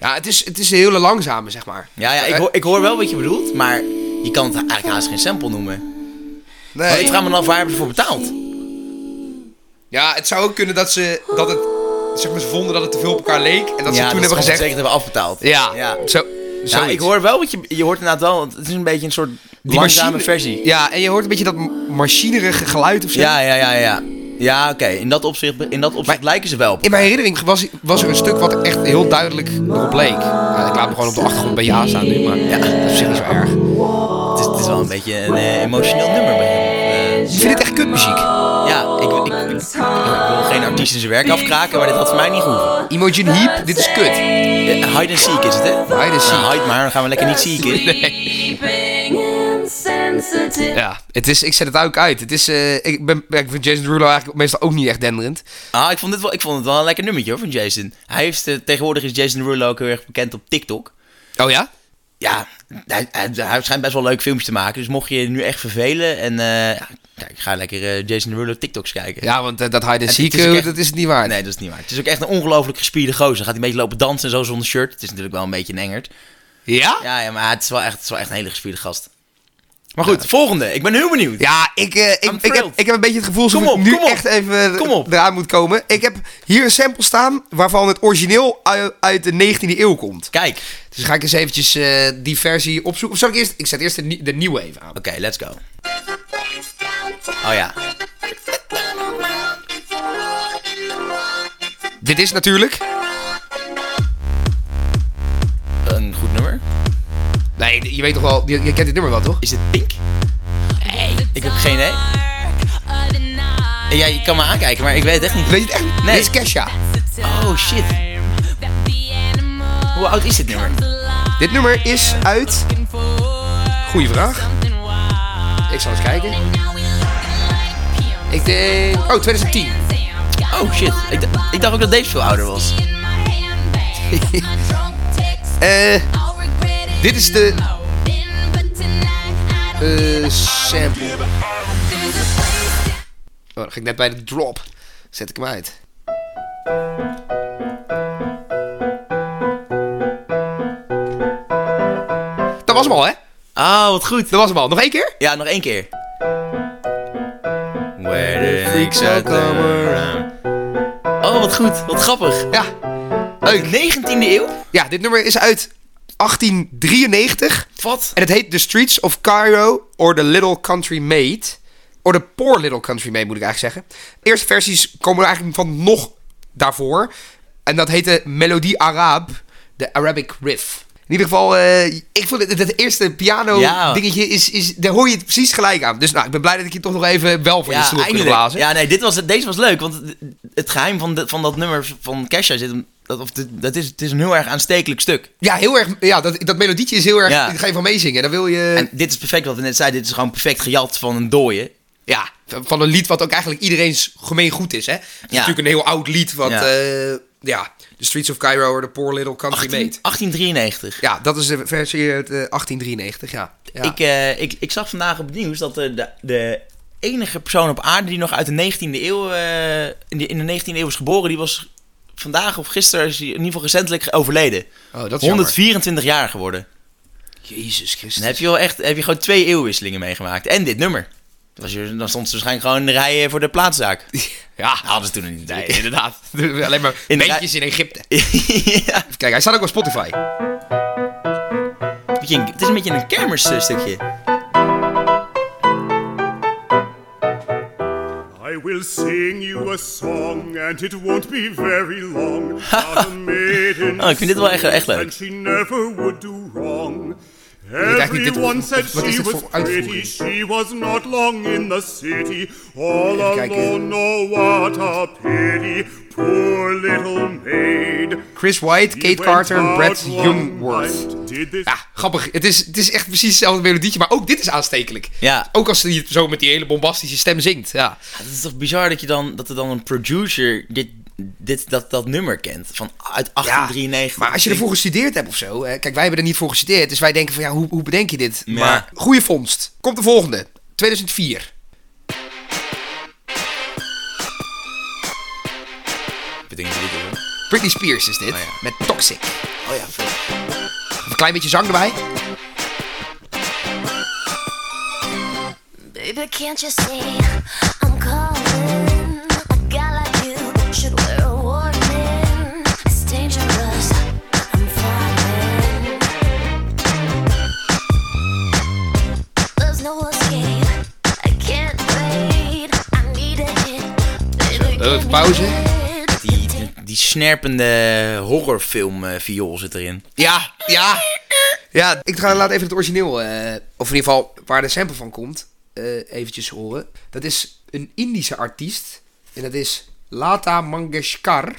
Ja, het is, het is een hele langzame, zeg maar.
ja, ja, ik, hoor, ik hoor wel wat je bedoelt, maar je kan het eigenlijk haast geen sample noemen. Want
Nee.
ik vraag me dan af, waar hebben ze voor betaald?
Ja, het zou ook kunnen dat ze, dat het, zeg maar, ze vonden dat het te veel op elkaar leek. En dat ze
ja,
toen
dat
hebben
ze
gezegd...
zeker hebben afbetaald.
Ja,
ja.
zo...
Ja,
zoiets.
ik hoor wel wat je... Je hoort inderdaad wel, want het is een beetje een soort langzame
machine-
versie.
Ja, en je hoort een beetje dat m- machinerige geluid of zo.
Ja, ja, ja, ja. Ja, oké. In dat opzicht, in dat opzicht lijken ze wel op
In mijn herinnering was, was er een stuk wat echt heel duidelijk erop leek. Ja, ik laat me gewoon op de achtergrond bij ja staan nu, maar ja, dat is op zich niet zo erg.
Het is, het is wel een beetje een eh, emotioneel nummer bij hem. Eh,
Ik vind het echt kutmuziek.
ja, ik, ik, ik, ik wil geen artiest in zijn werk afkraken, maar dit had voor mij niet gehoeven.
Imogen Heap, dit is kut.
Eh, hide and seek is het, hè?
Hide and seek.
Nou, hide maar, dan gaan we lekker niet zieken.
Sleeping insensitive.
Ja, het is, ik zet het ook uit. Het is, eh, ik, ben, ja, ik vind Jason Derulo eigenlijk meestal ook niet echt denderend.
Ah, ik vond, dit wel, ik vond het wel een lekker nummertje hoor, van Jason. Hij heeft, eh, tegenwoordig is Jason Derulo ook heel erg bekend op TikTok.
Oh ja?
Ja, hij, hij, hij schijnt best wel leuk filmpjes te maken. Dus mocht je je nu echt vervelen en... eh, ja, kijk, ga lekker eh, Jason Derulo TikToks kijken.
Ja, want eh, dat hide and
Het-
seek,
het is
eh,
ook echt-
dat is het niet waar.
Nee, dat is niet waar. Het is ook echt een ongelooflijk gespierde gozer. Hij gaat een beetje lopen dansen en zo zonder shirt. Het is natuurlijk wel een beetje een engert.
Ja?
Ja, ja maar het is, wel echt, het is wel echt een hele gespierde gast. Maar goed, volgende. Ik ben heel benieuwd.
Ja, ik, eh, ik, ik, heb,
thrilled.
ik heb een beetje het gevoel dat
Kom
ik
op,
nu
kom op.
echt even eh,
Kom op.
eraan moet komen. Ik heb hier een sample staan waarvan het origineel uit, uit de 19e eeuw komt.
Kijk.
Dus ga ik eens eventjes eh, die versie opzoeken. Of zal ik eerst... Ik zet eerst de, nie- de nieuwe even aan.
Oké, let's go. Oh ja.
Dit is natuurlijk...
Een goed nummer.
Nee, je weet toch wel... Je, je kent dit nummer wel, toch?
Is het Pink? Nee. Ik heb geen idee. Ja, je kan me aankijken, maar ik weet het echt niet.
Weet je het echt niet?
Nee.
Dit is Kesha.
Oh shit. Hoe oud is dit nummer?
Dit nummer is uit... Goeie vraag. Ik zal eens kijken. Ik denk... Oh, 2010.
Oh shit. Ik, d- ik dacht ook dat deze veel ouder was.
Eh, dit is de eh, sample. Oh, dan ging ik net bij de drop. Zet ik hem uit. Dat was hem al, hè?
Oh, wat goed.
Dat was hem al. Nog één keer?
Ja, nog één keer. Where the freaks are coming around. Oh, wat goed. Wat grappig.
Ja.
Leuk. 19e eeuw?
Ja, dit nummer is uit 1893.
Wat?
En het heet The Streets of Cairo or The Little Country Maid. Or The Poor Little Country Maid, moet ik eigenlijk zeggen. De eerste versies komen er eigenlijk van nog daarvoor. En dat heette Melodie Arab, de Arabic Riff. In ieder geval, eh, ik vond het, het eerste piano
Ja.
dingetje, is, is, daar hoor je het precies gelijk aan. Dus nou, ik ben blij dat ik je toch nog even wel voor je sloeg kunnen blazen.
Ja, nee, dit was, deze was leuk. Want het, het geheim van, de- van dat nummer van Kesha zit hem... Dat, of dit- dat is, het is een heel erg aanstekelijk stuk.
Ja, heel erg, ja dat, dat melodietje is heel erg,
Ja.
dat ga je van meezingen. Dan wil je,
En dit is perfect wat we net zeiden. Dit is gewoon perfect gejat van een dooie.
ja, van een lied wat ook eigenlijk iedereen's gemeen goed is, hè. Het is natuurlijk een heel oud lied, wat,
Ja.
eh, ja, The Streets of Cairo or The Poor Little Country
18-
Maid.
1893.
Ja, dat is de versie uit eh, 1893, ja. ja.
Ik, eh, ik, ik zag vandaag op het nieuws dat eh, de, de enige persoon op aarde die nog uit de 19e eeuw, eh, in, de, in de 19e eeuw is geboren, die was vandaag of gisteren, is hij in ieder geval recentelijk overleden.
Oh, dat is
124 jaar geworden.
Jezus Christus.
Dan heb je wel echt, heb je gewoon twee eeuwwisselingen meegemaakt. En dit nummer. Dat Was je, dan stond ze waarschijnlijk gewoon in de rij voor de plaatszaak.
Ja,
Dat hadden ze toen niet.
nee, inderdaad. Alleen maar
In de
bandjes in Egypte.
ja,
Kijk, hij staat ook op Spotify.
beetje een- het is een beetje een kermisstukje.
I will sing you a song, and it won't be very long. About a maiden
Ah,
Oh, ik vind dit wel echt- echt leuk.
And she never would do wrong.
eigenlijk niet dit-
Everyone said
wat is
she
dit
was
voor
pretty,
uitvoering?
she was not long in the city. All
Even kijken.
alone, oh what a pity, poor little maid.
Chris White,
He
Kate
went
Carter en
out
Brad
one
Youngworth. Ah.
night, did this-
Ja, grappig. Het is, het is echt precies hetzelfde melodietje, maar ook dit is aanstekelijk.
Ja.
Ook als hij zo met die hele bombastische stem zingt, ja.
Het is toch bizar dat, je dan, dat er dan een producer dit, dit, dat, dat nummer kent. Van uit 1893.
maar als je ervoor gestudeerd hebt of zo. eh, Kijk, wij hebben er niet voor gestudeerd. Dus wij denken van ja, hoe, hoe bedenk je dit?
Ja.
Maar goede vondst. Komt de volgende. 2004.
Bedenk je dit hoor.
Britney Spears is dit.
Oh ja.
Met Toxic.
Oh ja, vet.
Een klein beetje zang erbij.
Baby, can't you see I'm calling? A guy like you should wear a warning. It's dangerous. I'm falling. There's no escape. I can't wait. I need a hit. Baby,
Even
give me
pauze.
it.
Die, die snerpende horrorfilm eh, viool zit erin.
Ja, ja. Ja, ik ga laat even het origineel, eh, of in ieder geval waar de sample van komt, eh, eventjes horen. Dat is een Indische artiest. En dat is Lata Mangeshkar.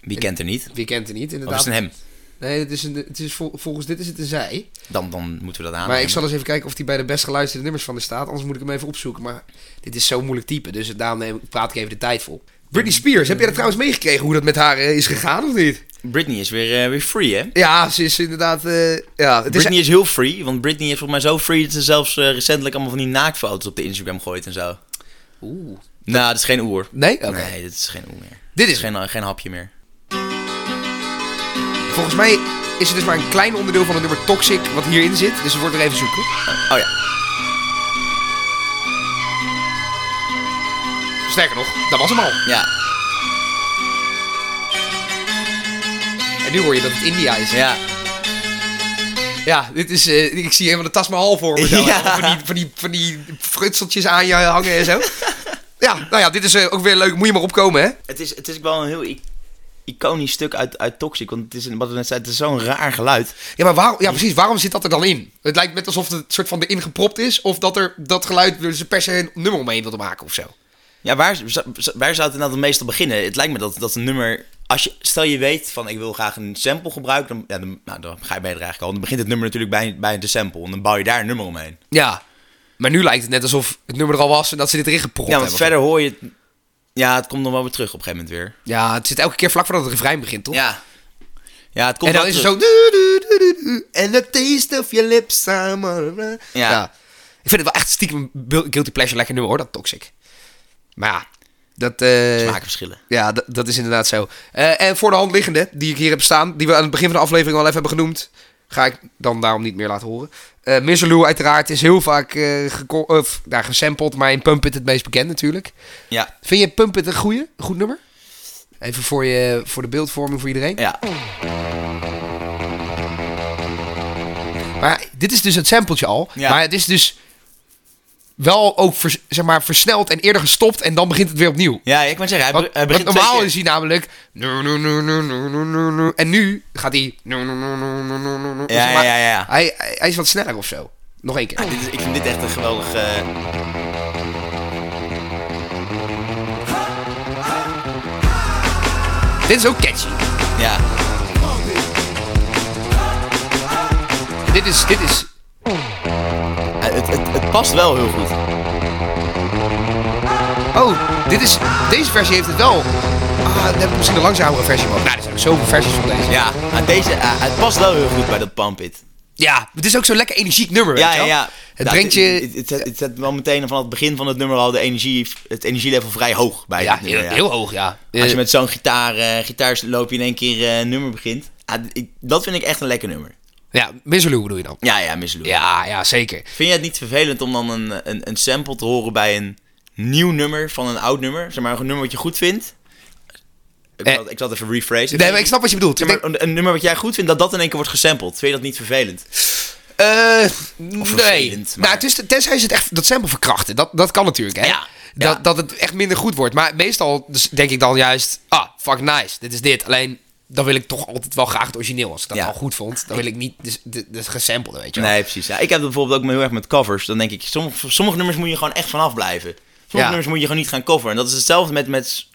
Wie kent er niet?
Wie kent het niet,
Of Oh, is
inderdaad.
het een hem? Oh,
Nee, het is een, het is vol- volgens dit is het een zij.
Dan, dan moeten we dat aan.
Maar ik zal eens even kijken of die bij de best geluisterde nummers van de staat. Anders moet ik hem even opzoeken. Maar dit is zo'n moeilijk type, dus daarom neem, praat ik even de tijd vol. Britney Spears, heb jij dat trouwens meegekregen hoe dat met haar eh, is gegaan of niet?
Britney is weer, eh, weer free, hè?
Ja, ze is inderdaad... eh, ja, het is
Britney is heel free, want Britney is volgens mij zo free dat ze zelfs eh, recentelijk allemaal van die naaktfoto's op de Instagram gooit en zo. Oeh. Nou, dat is geen oer.
Nee? Oké.
Nee, dit is geen oer meer.
Dit is-
geen, geen hapje meer.
Volgens mij is het dus maar een klein onderdeel van het nummer Toxic wat hierin zit. Dus het wordt er even zoeken.
Oh ja.
Sterker nog, dat was hem al.
Ja,
En nu hoor je dat het India is.
ja.
Ja, dit is, eh, ik zie helemaal de tas maar half voor me. zo.
Ja.
Van, die, van, die, van die frutseltjes aan je hangen en zo. ja, nou ja, dit is eh, ook weer leuk. Moet je maar opkomen, hè?
Het is, het is wel een heel i- iconisch stuk uit, uit Toxic, want het is, een- wat we net zeiden, het is zo'n raar geluid.
Ja, maar waarom, ja, precies. Waarom zit dat er dan in? Het lijkt net alsof het soort van erin gepropt is. Of dat er dat geluid willen ze per se een nummer omheen wilden maken of zo.
Ja, waar, zou- waar zou het inderdaad het meestal beginnen? Het lijkt me dat, dat een nummer... Als je, stel je weet van ik wil graag een sample gebruiken, dan, ja, dan, nou, dan ga je bij er eigenlijk al. Dan begint het nummer natuurlijk bij, bij de sample en dan bouw je daar een nummer omheen.
Ja. Maar nu lijkt het net alsof het nummer er al was en dat ze dit erin gepropt
Ja,
hebben.
want verder hoor je... het- Ja, het komt nog wel weer terug op een gegeven moment weer.
Ja, het zit elke keer vlak voordat het refrein begint, toch?
Ja. Ja, het komt
En dan
wel
is het
terug.
zo. du- du- du- du- du- En the taste of your lips. I'm all- Ja.
Ja.
Ik vind het wel echt stiekem een bu- guilty pleasure lekker nummer hoor, dat toxic. Maar ja, dat. eh,
Smaakverschillen.
ja, dat, dat is inderdaad zo. Eh, en voor de hand liggende, die ik hier heb staan, die we aan het begin van de aflevering al even hebben genoemd, ga ik dan daarom niet meer laten horen. Eh Miserloo uiteraard is heel vaak eh geko- of, nou, gesampled, maar in Pump It het meest bekend natuurlijk.
Ja.
Vind je Pump It een goeie, een goed nummer? Even voor, je, voor de beeldvorming voor iedereen.
Ja.
Maar ja, dit is dus het sampletje al.
Ja.
Maar het is dus wel ook vers- zeg maar, versneld en eerder gestopt en dan begint het weer opnieuw.
Ja, ik kan zeggen, hij,
Want,
be- hij
want
begint
normaal
twee
is hij namelijk... nu, nu, nu, nu, nu, nu, nu, nu. En nu gaat hij... nu, nu, nu, nu, nu, nu, nu, nu.
Ja,
Zeg maar,
ja, ja, ja.
Hij, hij hij is wat sneller of zo. Nog één keer.
keer. Dit is, ik vind dit echt een geweldig... eh,
Dit is ook catchy.
ja.
Dit is... Dit is
Eh, Het, het, het past wel heel goed.
oh, dit is... Deze versie heeft het wel. Ah, dan heb ik misschien een langzamere versie. Maar, nou, er zijn ook zoveel versies van deze.
Ja, maar deze, eh, het past wel heel goed bij dat Pump It.
Ja, het is ook zo'n lekker energiek nummer, weet je wel? Het
Ja,
brengt je...
Het, het, het, het zet wel meteen van het begin van het nummer al de energie, het energielevel vrij hoog bij
Ja,
dit nummer,
heel, heel hoog, ja.
Als je
Eh,
met zo'n gitaar, eh gitaarsloopje in één keer eh, een nummer begint. Ah, ik- dat vind ik echt een lekker nummer.
Ja, Miserloo bedoel je dan?
Ja, ja, Miss Lou.
Ja, ja, zeker.
Vind je het niet vervelend om dan een, een, een sample te horen bij een nieuw nummer van een oud nummer? Zeg maar een nummer wat je goed vindt. Ik,
Eh,
zal, ik zal het even rephrasen.
Nee, maar ik snap wat je bedoelt.
Zeg
Ik
maar,
denk,
een, een nummer wat jij goed vindt, dat dat in één keer wordt gesampled. Vind je dat niet vervelend?
eh, nee.
vervelend, maar-
Nou, het is, tenzij ze het echt dat sample verkrachten. Dat, dat kan natuurlijk, hè?
Ja,
Dat,
ja.
dat het echt minder goed wordt. Maar meestal dus denk ik dan juist... Ah, fuck nice, dit is dit. Alleen, dan wil ik toch altijd wel graag het origineel. Als ik dat
Ja.
al goed vond, dan wil ik niet dus- de- de gesamplede, weet je wel.
Nee, precies. Ja, ik heb dat bijvoorbeeld ook heel erg met covers. Dan denk ik, sommige, sommige nummers moet je gewoon echt vanaf blijven. Sommige
Ja.
nummers moet je gewoon niet gaan coveren. En dat is hetzelfde met, met,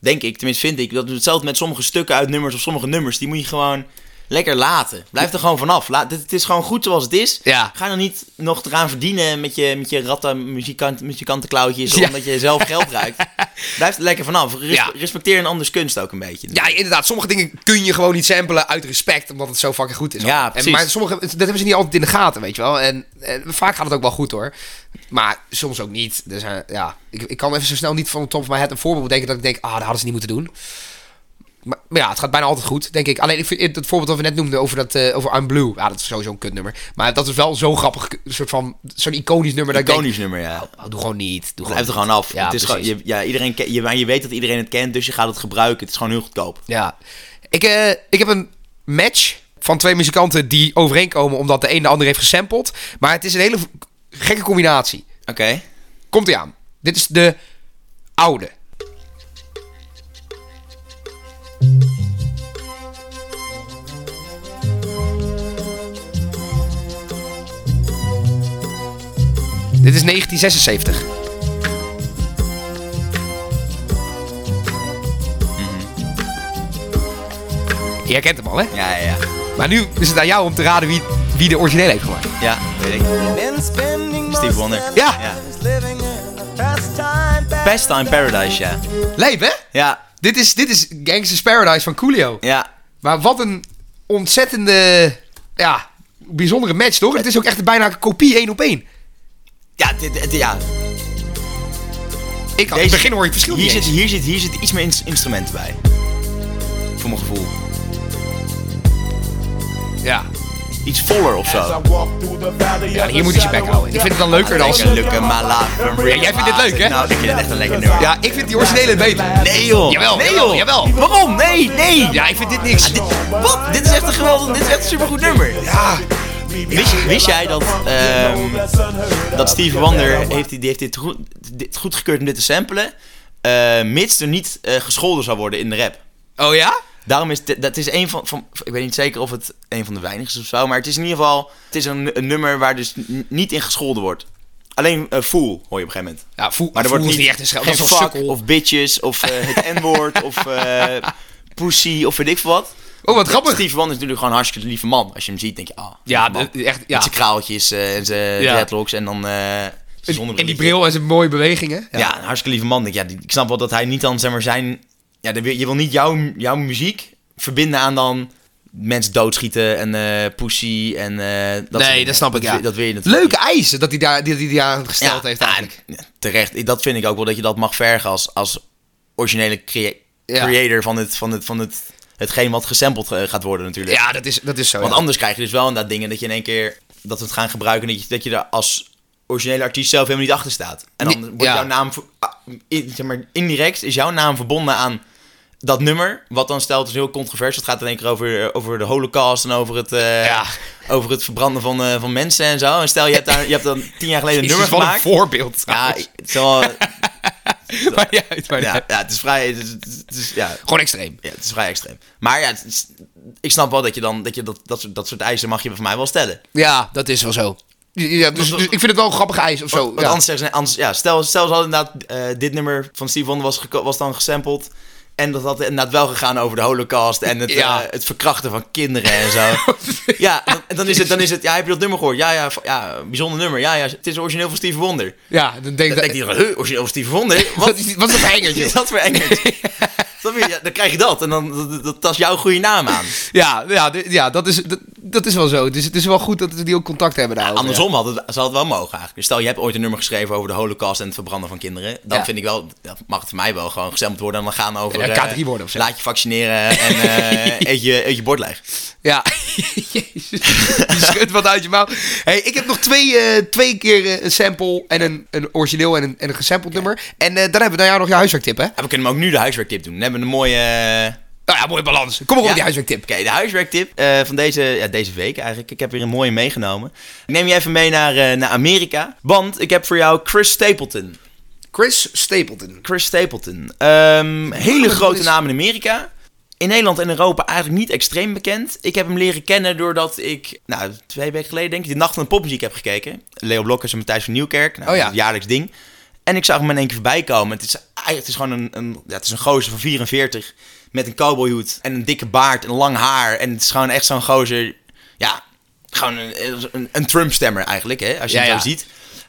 denk ik, tenminste vind ik, dat is hetzelfde met sommige stukken uit nummers of sommige nummers. Die moet je gewoon lekker laten. Blijf er gewoon vanaf. Laat, dit, het is gewoon goed zoals het is.
Ja.
Ga er niet nog eraan verdienen met je, met je ratten muzikant, muzikantenklauwtjes.
Ja.
Omdat je zelf geld ruikt. Blijf er lekker vanaf. Res-
Ja.
Respecteer een anders kunst ook een beetje.
Ja, inderdaad. Sommige dingen kun je gewoon niet samplen uit respect, omdat het zo fucking goed is.
Ja,
en,
precies.
maar sommige, dat hebben ze niet altijd in de gaten, weet je wel. En, en vaak gaat het ook wel goed, hoor. Maar soms ook niet. Dus eh, ja, ik, ik kan even zo snel niet van de top van mijn head een voorbeeld bedenken dat ik denk, ah, dat hadden ze niet moeten doen. Maar, maar ja, het gaat bijna altijd goed, denk ik. Alleen, ik vind het voorbeeld dat we net noemden over, dat, eh, over I'm Blue. Ja, dat is sowieso een kutnummer. Maar dat is wel zo'n grappig, soort van, zo'n iconisch nummer. dat ik denk,
Iconisch nummer, ja.
oh, doe gewoon niet. Doe
Blijf er
niet.
gewoon af.
Ja,
het is gewoon,
precies.
je, ja, iedereen ken- je, maar je weet dat iedereen het kent, dus je gaat het gebruiken. Het is gewoon heel goedkoop.
Ja. Ik, eh, ik heb een match van twee muzikanten die overeenkomen omdat de een de ander heeft gesampled. Maar het is een hele v- gekke combinatie.
Oké.
Komt ie aan. Dit is de oude. Dit is Mhm. 1976. Jij kent hem al, hè?
Ja, ja, ja.
Maar nu is het aan jou om te raden wie, wie de origineel heeft gemaakt.
Ja, weet ik. Steve Wonder.
Ja.
Best Time Paradise, ja.
Lijp, hè?
Ja,
Dit is, dit is Gangsta's Paradise van Coolio.
ja.
Maar wat een ontzettende, ja, bijzondere match, toch? Het is ook echt bijna een kopie één op één.
Ja, dit, dit- ja.
Ik, had, in
Deze-
Nou, het begin hoor je het verschil
hier
niet
zit,
eens.
hier, zit, hier zit iets meer ins- instrumenten bij. Voor mijn gevoel.
Ja.
Iets voller of zo.
ja, hier moet je je bek houden. Ik vind het dan leuker dan...
Lekker lukken, maar laat hem
Ja, jij vindt dit leuk, hè?
Nou, ik vind het echt een lekker nummer.
Ja, ik vind die originele beter.
Nee, joh.
Jawel,
nee,
jawel,
joh.
jawel.
Waarom? Nee, nee. Ah,
Ja, ik vind dit niks.
Dit- wat? Dit is echt een geweldig, dit is echt een supergoed nummer.
Ja,
Wist, wist jij dat, ehm, dat Steve Wonder heeft, die heeft dit, goed, dit goedgekeurd om dit te samplen, eh, mits er niet eh, gescholden zou worden in de rap?
Oh ja?
Daarom is dit- dat is een van, van, ik weet niet zeker of het een van de weinigen is of zo, maar het is in ieder geval, het is een, een nummer waar dus n- niet in gescholden wordt. Alleen eh fool hoor je op een gegeven moment.
Ja, voel,
Maar er wordt
voel is
niet,
niet echt een schel. Dat
geen
is wel
fuck
sukkel.
of bitches of eh, het n-woord of eh, pussy of weet ik veel wat.
Oh, wat grappig.
Steve Wonder is natuurlijk gewoon een hartstikke lieve man. Als je hem ziet, denk je, ah,
Ja,
lieve man.
de- echt, ja.
Met zijn kraaltjes eh, en zijn
Ja.
dreadlocks en dan eh zonder
En die bril en zijn mooie bewegingen.
Ja. een hartstikke lieve man. Ik, ja, die- ik snap wel dat hij niet dan, zeg maar, zijn... Ja, dan wil- je wil niet jouw, jouw muziek verbinden aan dan mensen doodschieten en eh pussy en eh, dat soort
Nee,
dingen.
dat snap ik,
wil-
ja.
Dat wil je natuurlijk
Leuke eisen dat hij daar, die, die, die aan gesteld heeft
ah,
eigenlijk.
ja, terecht. Ik- Dat vind ik ook wel dat je dat mag vergen als, als originele crea-
Ja.
creator van, het, van, het, van het, hetgeen wat gesampled eh, gaat worden natuurlijk.
Ja, dat is, dat is zo.
Want
ja.
anders krijg je dus wel inderdaad dingen dat je in één keer dat we het gaan gebruiken en dat je, dat je er als originele artiest zelf helemaal niet achter staat. En dan
Nee,
wordt
ja.
jouw naam, ver- ah, in- zeg maar, indirect is jouw naam verbonden aan dat nummer, wat dan stelt is heel controversieel. Het gaat in één keer over, eh, over de holocaust en over het, eh,
Ja.
over het verbranden van, eh, van mensen en zo. En stel, je hebt, daar, je hebt dan tien jaar geleden een
Jezus,
nummer
wat
gemaakt.
een voorbeeld.
Ja, het is
trouwens.
wel,
Maakt niet uit, maakt
ja,
niet uit.
ja, het is vrij, het is, het is- ja,
Gewoon extreem.
ja, het is vrij extreem. Maar ja, het is- ik snap wel dat je dan, dat je dat, dat, soort, dat soort eisen mag je van mij wel stellen.
Ja, dat is wel zo. Ja, dus, dus ik vind het wel een grappig ijs of zo.
Want
ja.
anders, zeggen ze- anders ja, stel, stel ze hadden inderdaad eh, dit nummer van Steve Wonder was, geko- was dan gesampled. En dat had inderdaad wel gegaan over de holocaust en het,
Ja.
eh, het verkrachten van kinderen en zo. ja, dan, dan, is het, dan is het, ja, heb je dat nummer gehoord? Ja, ja, v- ja bijzonder nummer. Ja, ja, het is origineel van Steve Wonder.
ja, dan denk
Dan
ik...
denkt iedereen, huh, origineel van Steve Wonder?
wat, is- wat is dat hengertje?
is dat voor engert? Snap je? Ja, dan krijg je dat en dan dat, dat tast jouw goede naam aan.
ja, ja, d- ja dat, is, dat, dat is wel zo. Dus het is wel goed dat we die ook contact hebben daarover.
Andersom had het, zou het wel mogen eigenlijk. Dus stel, je hebt ooit een nummer geschreven over de holocaust en het verbranden van kinderen. Dan
Ja.
vind ik wel, dat mag het voor mij wel gewoon gestemd worden. En dan gaan over...
Ja,
eh,
K3 worden of zo.
Laat je vaccineren en eh, eet, je, eet je bord leeg.
Ja. Jezus, je schudt wat uit je mouw. Hey, ik heb nog twee, eh, twee keer eh, een sample en een, een origineel en een, en een gesampled nummer. En eh, dan hebben we daarna nog je huiswerktip, hè?
En we kunnen hem ook nu de huiswerktip doen. Dan hebben we een mooie... eh,
Nou ja, mooie balans. Kom maar op
Ja.
met die huiswerktip.
Oké, de huiswerktip eh, van deze, ja, deze week eigenlijk. Ik heb weer een mooie meegenomen. Ik neem je even mee naar, eh, naar Amerika. Want ik heb voor jou Chris Stapleton.
Chris Stapleton.
Chris Stapleton. Ehm, hele
dat
grote
is-
naam in Amerika. In Nederland en Europa eigenlijk niet extreem bekend. Ik heb hem leren kennen doordat ik, nou, twee weken geleden denk ik, de Nacht van de Popmuziek heb gekeken. Leo Blokkers en Matthijs van Nieuwkerk. Nou,
Oh ja.
dat is een jaarlijks ding. En ik zag hem in één keer voorbij komen. Het is, eigenlijk- het is gewoon een, een, ja, het is een gozer van 44 met een cowboyhoed en een dikke baard en lang haar. En het is gewoon echt zo'n gozer, ja, gewoon een, een, een Trump-stemmer eigenlijk, hè, als je
Ja,
hem
ja.
zo ziet.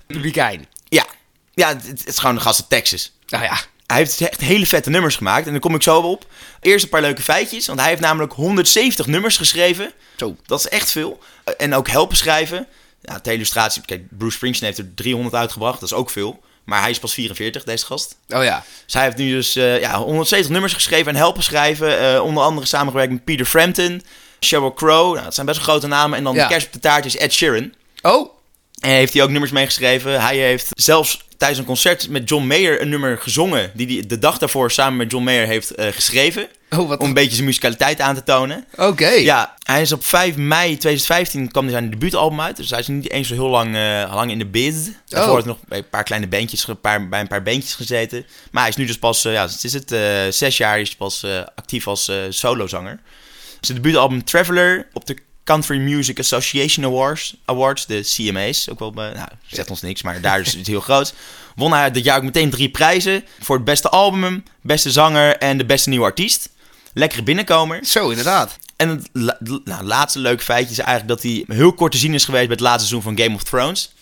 Republikein.
Ja, ja het, het is gewoon een gast uit Texas.
Nou ja.
Hij heeft echt hele vette nummers gemaakt. En daar kom ik zo op. Eerst een paar leuke feitjes. Want hij heeft namelijk 170 nummers geschreven.
Zo.
Dat is echt veel. Eh, En ook helpen schrijven. Ja, ter illustratie. Kijk, Bruce Springsteen heeft er 300 uitgebracht. Dat is ook veel. Maar hij is pas 44, deze gast.
Oh ja.
Dus hij heeft nu dus eh, ja, 170 nummers geschreven en helpen schrijven. Eh, onder andere samengewerkt met Peter Frampton, Sheryl Crow. Nou, dat zijn best wel grote namen. En dan
Ja.
de kerst op de taart is Ed Sheeran.
Oh.
En heeft hij ook nummers meegeschreven. Hij heeft zelfs tijdens een concert met John Mayer een nummer gezongen. Die hij de dag daarvoor samen met John Mayer heeft eh, geschreven.
Oh, wat-
Om een beetje zijn musicaliteit aan te tonen.
Oké.
Ja, hij is op 5 mei 2015 kwam hij zijn debuutalbum uit. Dus hij is niet eens zo heel lang, eh, lang in de biz. Daarvoor
Oh.
heeft hij nog bij een paar kleine bandjes, ge- paar, bij een paar bandjes gezeten. Maar hij is nu dus pas, eh, ja, het is het, eh, zes jaar is hij pas eh, actief als eh, solozanger. Zijn debuutalbum Traveler op de Country Music Association Awards, Awards de CMA's. Ook wel, bij- nou, zegt ons niks, maar daar is het heel groot. Won hij dit jaar ook meteen drie prijzen. Voor het beste album, beste zanger en de beste nieuwe artiest. Lekkere binnenkomer.
Zo, inderdaad.
En het la- nou, laatste leuk feitje is eigenlijk dat hij heel kort te zien is geweest bij het laatste seizoen van Game of Thrones.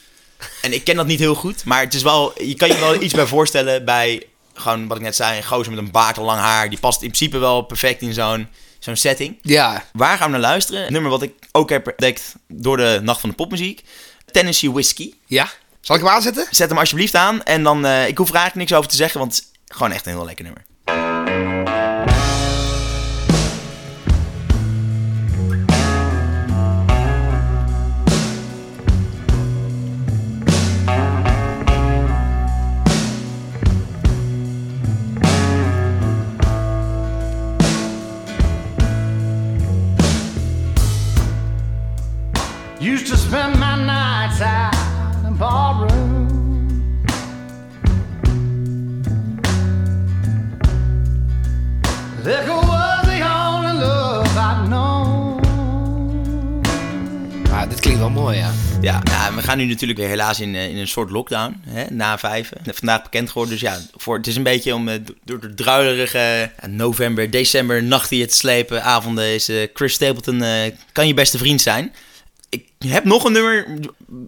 En ik ken dat niet heel goed, maar het is wel, je kan je wel iets bij voorstellen bij gewoon wat ik net zei, een gozer met een baard en lang haar. Die past in principe wel perfect in zo'n zo'n setting.
Ja.
Waar gaan we naar luisteren? Een nummer wat ik ook heb ontdekt door de Nacht van de Popmuziek. Tennessee Whiskey.
Ja. Zal ik hem aanzetten?
Zet hem alsjeblieft aan en dan, eh, ik hoef er eigenlijk niks over te zeggen, want het is gewoon echt een heel lekker nummer.
Used to spend my nights out in barroom. Liquor was the only love I'd known.
Ah, dit klinkt wel mooi, ja.
Ja, nou, we gaan nu natuurlijk weer helaas in, eh, in een soort lockdown, hè, na vijven. Vandaag bekend geworden, dus ja, voor, het is een beetje om eh, do- door de druilerige eh, november, december nachten hier te slepen. Avonden is eh, Chris Stapleton, eh, kan je beste vriend zijn. Ik heb nog een nummer,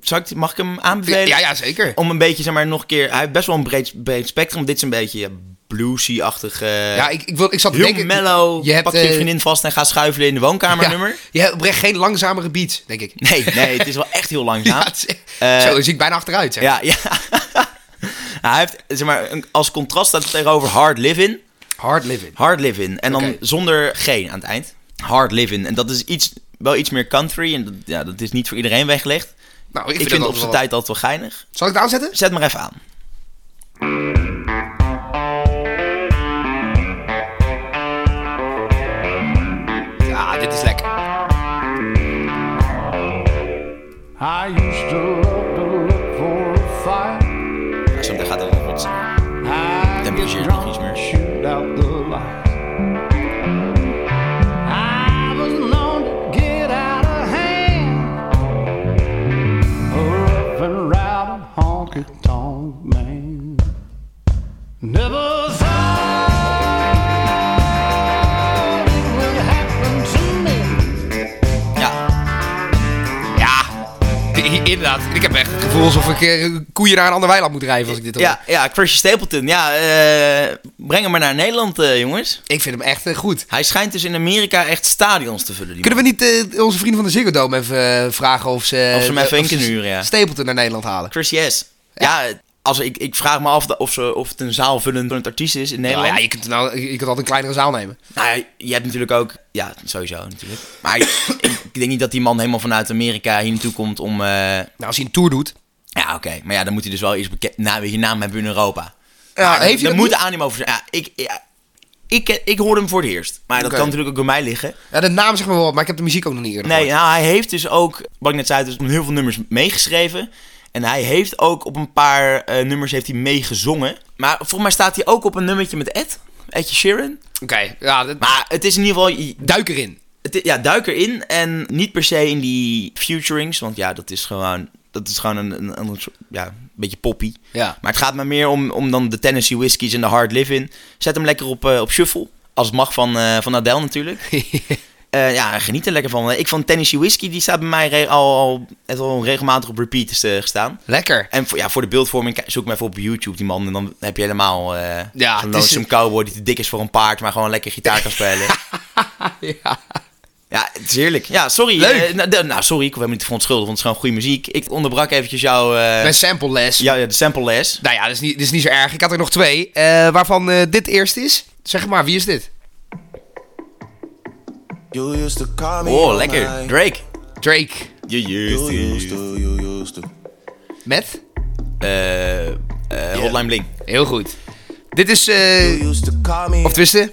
Zal ik, mag ik hem aanbevelen?
Ja, ja, zeker.
Om een beetje, zeg maar, nog een keer, hij heeft best wel een breed, breed spectrum. Dit is een beetje ja, bluesy-achtig, eh,
Ja, ik, ik, wil, ik zat te
heel
denken-
mellow,
je hebt,
pak je
eh,
vriendin vast en ga schuifelen in de woonkamer
ja,
nummer.
Je hebt oprecht geen langzamere beat, denk ik.
Nee, nee, het is wel echt heel langzaam.
Ja, het is-
Eh,
zo zie ik bijna achteruit, zeg.
Ja, ja. Nou, Hij heeft, zeg maar, een- als contrast staat het tegenover hard living.
Hard living.
Hard living. En dan
Oké.
zonder geen aan het eind. Hard living. En dat is iets, wel iets meer country. En dat, ja, dat is niet voor iedereen weggelegd.
Nou,
Ik,
ik,
vind
dat
het op zijn
wel-
tijd altijd wel geinig.
Zal ik het aanzetten?
Zet maar even aan.
Ja, dit is lekker.
I used to love to look for a fire.
Ja, zo meteen gaat het wel wat.
I
Temperatuur is
get
nog iets
drunk,
meer.
shoot out the lights. I was known to get out of hand. A rough and rowdy honky tonk man. Never thought it would happen to me.
Ja,
Ja, i- inderdaad. Ik heb echt het gevoel alsof ik eh, koeien naar een ander weiland moet drijven als ik dit hoor.
ja, ja, Christian Stapleton. Ja, eh, breng hem maar naar Nederland, eh, jongens.
Ik vind hem echt eh, goed.
Hij schijnt dus in Amerika echt stadions te vullen. Die
Kunnen we niet eh, onze vrienden van de Ziggo Dome even eh, vragen of ze... eh,
Of ze hem even in
of ze
kunnen huren, ja.
Stapleton naar Nederland halen.
Chris Yes. Ja, als, ik, ik vraag me af of, ze, of het een zaalvullend artiest is in
Nou
Nederland.
ja, je kunt, nou, je kunt altijd een kleinere zaal nemen.
Nou ja, je hebt natuurlijk ook... Ja, sowieso natuurlijk. Maar ik, ik denk niet dat die man helemaal vanuit Amerika hier naartoe komt om... eh,
Nou, als hij een tour doet...
ja, oké. Maar ja, dan moet hij dus wel iets bekend... Nou, je naam hebben in Europa. Maar
Ja, heeft hij
daar
dat
moet
niet?
animo voor zijn. Ja, ik, ja, ik, ik hoorde hem voor het eerst. Maar dat
Oké.
kan natuurlijk ook bij mij liggen.
Ja, de naam zeg maar wel wat, maar ik heb de muziek ook nog niet eerder
Nee,
gehoord.
nou, hij heeft dus ook, wat ik net zei, dus heel veel nummers meegeschreven. En hij heeft ook op een paar eh, nummers heeft hij meegezongen. Maar volgens mij staat hij ook op een nummertje met Ed, Edje Sheeran.
Oké, ja, dat-
Maar het is in ieder geval,
duik erin.
het, ja, duik erin en niet per se in die futurings, want ja, dat is gewoon dat is gewoon een, een, een soort- ja, een beetje poppy.
Ja.
Maar het gaat me meer om, om dan de Tennessee Whiskies en de Hard Living. Zet hem lekker op, eh, op shuffle. Als het mag van, eh, van Adele natuurlijk. Eh, ja, geniet er lekker van. Ik vond Tennessee Whiskey, die staat bij mij re- al, al, het al regelmatig op repeat is, eh, gestaan.
Lekker.
En voor, ja, voor de beeldvorming kijk- zoek me even op YouTube die man. En dan heb je helemaal eh
Ja,
zo'n
het is-
lonesome cowboy die te dik is voor een paard, maar gewoon lekker gitaar kan spelen.
Ja.
ja, het is heerlijk. Ja, sorry.
Leuk.
eh, nou, de- nou, sorry, ik ben me niet verontschuldigd, want het is gewoon goede muziek. Ik onderbrak eventjes jouw eh,
Mijn sample les.
jou, ja, de sample les.
Nou ja, dat is, niet, dat is niet zo erg. Ik had er nog twee, eh, waarvan eh, dit eerst is. Zeg maar, wie is dit?
You used to call me
Oh,
all
lekker.
night.
Drake.
Drake.
Je
You used to, you used to.
Met?
Eh, eh, Hotline Bling.
Heel goed. Dit is,
You
eh
used to call me.
of tenminste, er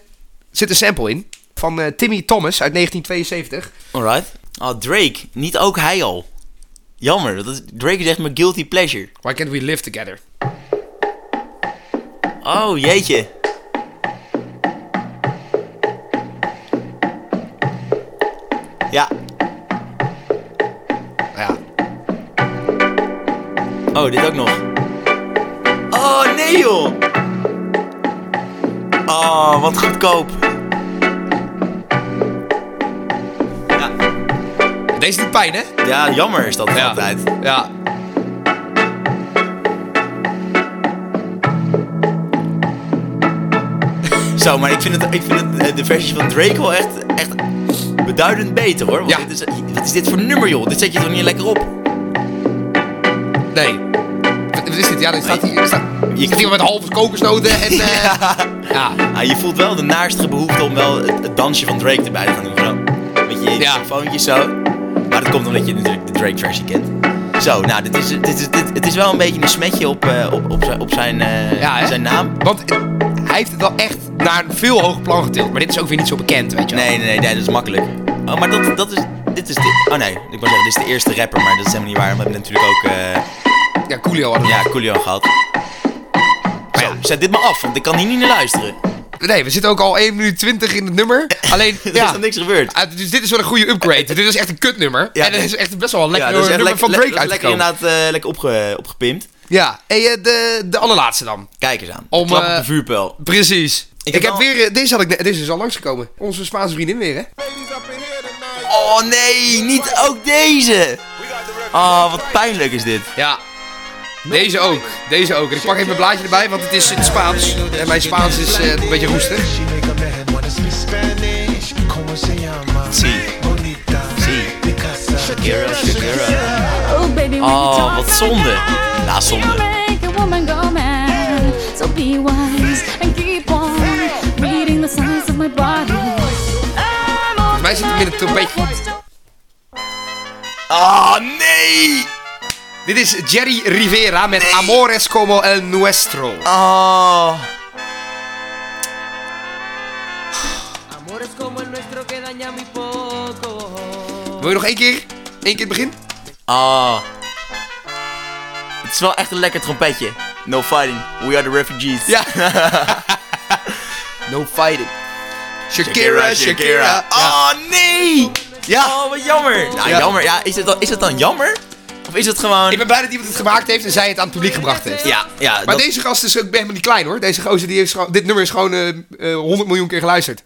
zit een sample in. Van eh, Timmy Thomas uit 1972.
Alright. Oh, Drake. Niet ook hij al. Jammer. Dat is, Drake is echt mijn guilty pleasure.
Why Can't We Live Together.
Oh, jeetje. Ja.
Nou ja,
Oh, dit ook nog. Oh, nee joh. Oh, wat goedkoop. Ja,
deze doet pijn, hè?
ja jammer is dat altijd.
Ja.
Zo, maar ik vind, het, ik vind het, eh, de versie van Drake wel echt, echt beduidend beter hoor. Want
Ja.
dit is, wat is dit voor nummer joh? Dit zet je toch niet lekker op?
Nee. Wat wat is dit? Ja, dit staat hier. Staat,
Je-
staat hier met halve kokosnoten en... eh, ja.
Ah, je voelt wel de naarstige behoefte om wel het, het dansje van Drake erbij te gaan doen. Zo. Met je
Ja.
telefoontjes zo. Maar dat komt omdat je natuurlijk de Drake versie kent. Zo, nou, dit is, dit is, dit, het is wel een beetje een smetje op, eh, op, op, zijn- op zijn, eh,
Ja, hè?
zijn naam.
Want eh, hij heeft het wel echt naar een veel hoger plan getild. Maar dit is ook weer niet zo bekend, weet je wel.
Nee, nee, nee, nee, dat is makkelijk. Oh, maar dat, dat is... Dit is dit. Oh nee, ik wou zeggen, dit is de eerste rapper, maar dat is helemaal niet waar. We hebben natuurlijk ook... eh,
Ja, Coolio had het.
Ja, Coolio gehad.
Maar
Zo, zet dit maar af, want ik kan hier niet naar luisteren.
Nee, we zitten ook al 1 minuut 20 in het nummer. Alleen,
Er
ja.
is nog niks gebeurd.
Ah, dus dit is wel een goede upgrade. Dit is echt een kutnummer.
Ja,
en dat
dit-
is echt best wel een lekker
dat is echt
nummer van
le-
Drake
dat is lekker
uitgekomen.
inderdaad eh, lekker opge, opgepimpt.
Ja, hey, eh, de, de allerlaatste dan.
Kijk eens aan.
Om,
Klap op
eh,
de vuurpijl.
Precies. Ik,
heb
heb
al-
weer... eh, deze, had ik, ne- deze is al langsgekomen. Onze Spaanse vriendin weer, hè?
Oh nee, niet ook deze. Oh, wat pijnlijk is dit.
Ja. Deze ook. Deze ook. En ik pak even mijn blaadje erbij, want het is in het Spaans. En mijn Spaans is eh, een beetje roestig.
She make a man wanna speak Spanish. Como se llama?
Sí.
Bonita.
Sí.
Picasa.
Shakira, Shakira.
Oh, baby, when
Oh,
you talk
wat
like
zonde.
that,
Ja, zonde.
you'll make a woman go mad. So be wise and keep on reading the signs of my body. Volgens
mij zit hem in het trompetje.
Oh nee.
Dit is Jerry Rivera met Amores como el nuestro.
Oh.
Wil je nog één keer? Eén keer het begin?
Oh. Het is wel echt een lekker trompetje. No fighting. We are the refugees.
Ja. no fighting.
Shakira,
Shakira, Shakira.
Shakira.
Ah,
Oh nee.
Ja.
Oh, wat jammer. Nou,
Ja.
jammer. Ja, is het, dan, is het dan jammer? Of is het gewoon...
Ik ben blij dat iemand het gemaakt heeft en zij het aan het publiek gebracht heeft.
Ja, ja.
Maar
dat-
deze gast is ook helemaal niet klein hoor. Deze gozer, die heeft gewoon- dit nummer is gewoon eh, eh, 100 miljoen keer geluisterd.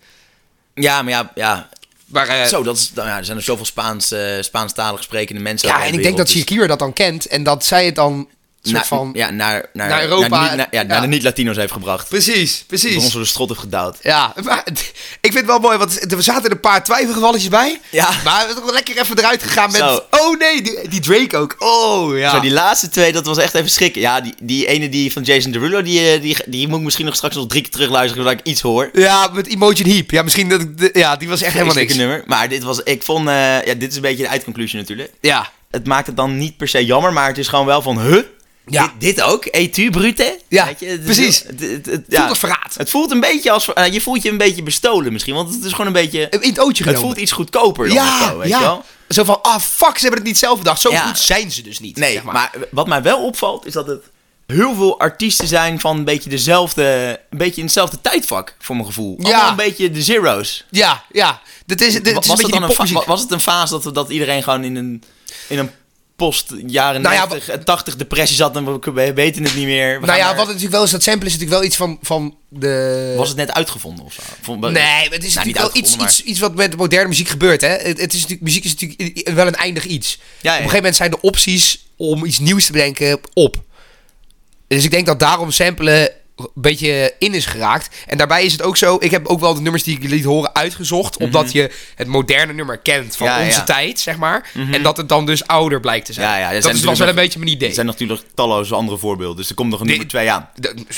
Ja, maar ja, ja.
Maar, eh,
Zo, dat is, nou ja, er zijn er zoveel Spaans, eh, Spaanstalig sprekende mensen.
ja,
over de
en ik denk
wereld,
dat
dus-
Shakira dat dan kent en dat zij het dan soort
Naar-
van...
ja, naar, naar,
naar Europa.
Naar, niet- naar- ja,
Ja.
naar de niet-Latino's heeft gebracht.
Precies,
Door ons
precies.
door de strot heeft gedouwd.
Ja, maar ik vind het wel mooi, want er zaten een paar twijfelgevalletjes bij.
Ja.
Maar we zijn toch lekker even eruit gegaan met...
Zo.
Oh nee, die, die Drake ook. Oh ja.
Zo, die laatste twee, dat was echt even schrikken. Ja, die, die ene die van Jason Derulo, die, eh, die, die moet ik misschien nog straks nog drie keer terugluisteren voordat ik iets hoor.
Ja, met Emotion Heap. Ja, misschien dat ik... de- Ja, die was echt helemaal
Een
niks.
nummer. Maar dit was, ik vond, eh, ja, dit is een beetje de uitconclusie natuurlijk.
Ja.
Het maakt het dan niet per se jammer, maar het is gewoon wel van, huh?
Ja.
Dit, dit ook? Et tu, brute?
Ja,
Weet je, het is
precies.
heel- Het, het- het- ja.
als verraad.
Het voelt een beetje als, eh, je voelt je een beetje bestolen misschien, want het is gewoon een beetje...
In het ootje
Het
genomen.
voelt iets goedkoper dan of
ja,
zo, weet
ja.
je wel?
Zo van, ah fuck, ze hebben het niet zelf bedacht. Zo
Ja.
goed zijn ze dus niet.
Nee,
zeg
maar. wat mij wel opvalt is dat het heel veel artiesten zijn van een beetje dezelfde, een beetje in hetzelfde tijdvak voor mijn gevoel.
Ja.
Allemaal een beetje de zeros.
Ja, ja. Dit is, dit, het is
was,
een
het
beetje
dan
die
een fa-
popmuziek.
was het een fase dat, we- dat iedereen gewoon in een, in een post jaren
Nou ja,
90 en 80 depressie zat en we- we weten het niet meer. We
nou
gaan
ja,
naar-
wat het natuurlijk wel is, dat sample is natuurlijk wel iets van, van de...
Was het net uitgevonden of zo? Vond-
Nee, maar het is
Nou, niet
natuurlijk wel iets,
uitgevonden,
iets, iets wat met moderne muziek gebeurt. Hè? Het, het is natuurlijk, muziek is natuurlijk i- i- wel een eindig iets. Op een gegeven moment zijn de opties om iets nieuws te bedenken op. Dus ik denk dat daarom samplen een beetje in is geraakt. En daarbij is het ook zo, ik heb ook wel de nummers die ik liet horen uitgezocht. Omdat je het moderne nummer kent van
Mhm. Ja,
onze
ja.
tijd, zeg maar.
Mhm.
En dat het dan dus ouder blijkt te zijn.
Ja, ja, er
dat
zijn
is,
natuurlijk
was wel een
nog-
beetje mijn idee.
Er zijn natuurlijk talloze andere voorbeelden, dus er komt nog een nummer twee aan.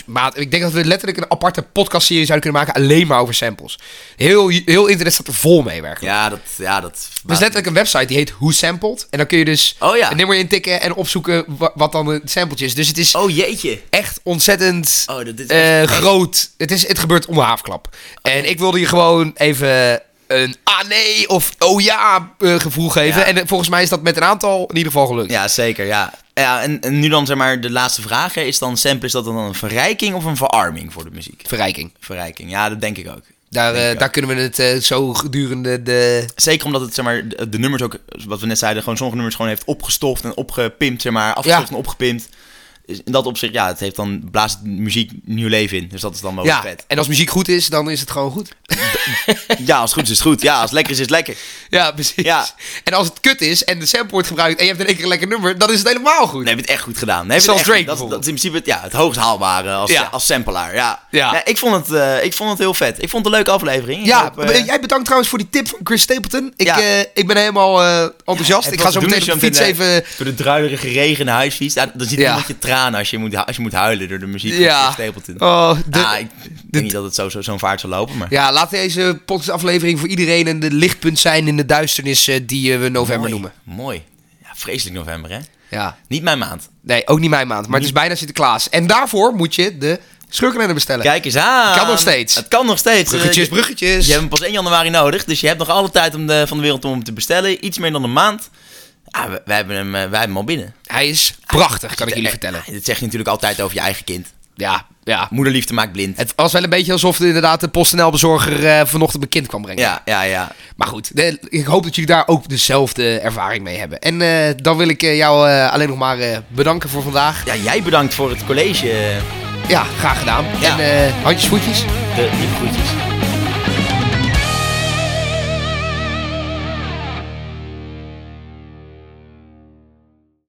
Maat, ik denk dat we letterlijk een aparte podcastserie zouden kunnen maken alleen maar over samples. Heel, heel internet staat er vol mee werkelijk.
Ja, dat... Ja, dat
Er is letterlijk een website die heet Who Sampled. En dan kun je dus
Oh
een nummer intikken en opzoeken wa- wat dan een sampletje is. Dus het is
oh, jeetje.
echt ontzettend
is
eh,
echt-
groot. Het, is, het gebeurt om de haafklap. En ik wilde je gewoon even een ah nee of oh ja eh, gevoel geven. En eh, volgens mij is dat met een aantal in ieder geval gelukt.
Ja, zeker, ja. ja en, en nu dan zeg maar de laatste vraag. hè, Is dan sample, is dat dan een verrijking of een verarming voor de muziek?
Verrijking.
Verrijking, ja, dat denk ik ook.
Daar,
Denk
eh,
ik
daar kunnen we het eh, zo gedurende de...
Zeker omdat het, zeg maar, de, de nummers ook, wat we net zeiden, gewoon sommige nummers gewoon heeft opgestoft en opgepimpt, zeg maar, afgestoft en opgepimpt. Dus in dat opzicht, ja, het heeft dan, blaast muziek nieuw leven in. Dus dat is dan wel
Ja,
vet.
en als muziek goed is, dan is het gewoon goed.
Ja, als het goed is, is het goed. Ja, als het lekker is, is het lekker.
Ja, precies. En als het kut is en de sample wordt gebruikt en je hebt in één keer een lekker nummer, dan is het helemaal goed.
Nee, heb je het echt goed gedaan. Nee, heb je
Zoals
het echt
Drake
goed- dat, dat is in principe het, ja, het hoogst haalbare als,
Ja.
als sampler. Ja.
Ja.
Nee, ik, vond het, eh, ik vond het heel vet. Ik vond het een leuke aflevering. Ik
Ja,
hoop, eh,
jij bedankt trouwens voor die tip van Chris Stapleton. Ik,
Ja.
eh, ik ben helemaal eh, enthousiast.
het
ik
was
ga zo
te doen
meteen op
als
de
je
fiets
aan het,
even...
eh, Door de druilerige regen naar huis fietst. Ja, dan zit je
Ja.
een beetje tranen als je, moet, hu- als je moet huilen door de muziek van
Ja.
Chris Stapleton.
Oh, de-
Ah, ik denk niet dat het zo, zo, zo'n vaart zal lopen, maar...
Ja, laat deze podcastaflevering voor iedereen een lichtpunt zijn in de duisternis eh, die eh, we november
Mooi,
noemen.
Mooi. Ja, vreselijk november, hè?
Ja.
Niet mijn maand.
Nee, ook niet mijn maand, maar het
Mm.
is bijna Sinterklaas. En daarvoor moet je de schurkenrenner bestellen.
Kijk eens aan.
Kan nog steeds.
Het kan nog steeds.
Bruggetjes,
Eh, je-
bruggetjes.
Je hebt hem pas 1 januari nodig, dus je hebt nog alle tijd om de, van de wereld om hem te bestellen. Iets meer dan een maand. Ah, we- wij, hebben hem, eh, wij hebben hem al binnen. Eh,
Hij is prachtig, kan ik jullie vertellen.
Dat zeg je natuurlijk altijd over je eigen kind.
Ja, ja.
Moederliefde maakt blind.
Het was wel een beetje alsof de, inderdaad de PostNL-bezorger eh, vanochtend bekend kwam brengen.
Ja, ja, ja.
Maar goed, de- ik hoop dat jullie daar ook dezelfde ervaring mee hebben. En eh, dan wil ik eh, jou eh, alleen nog maar eh, bedanken voor vandaag.
Ja, jij bedankt voor het college. eh,
Ja, graag gedaan.
Ja.
En eh handjes, voetjes.
De diepe groetjes.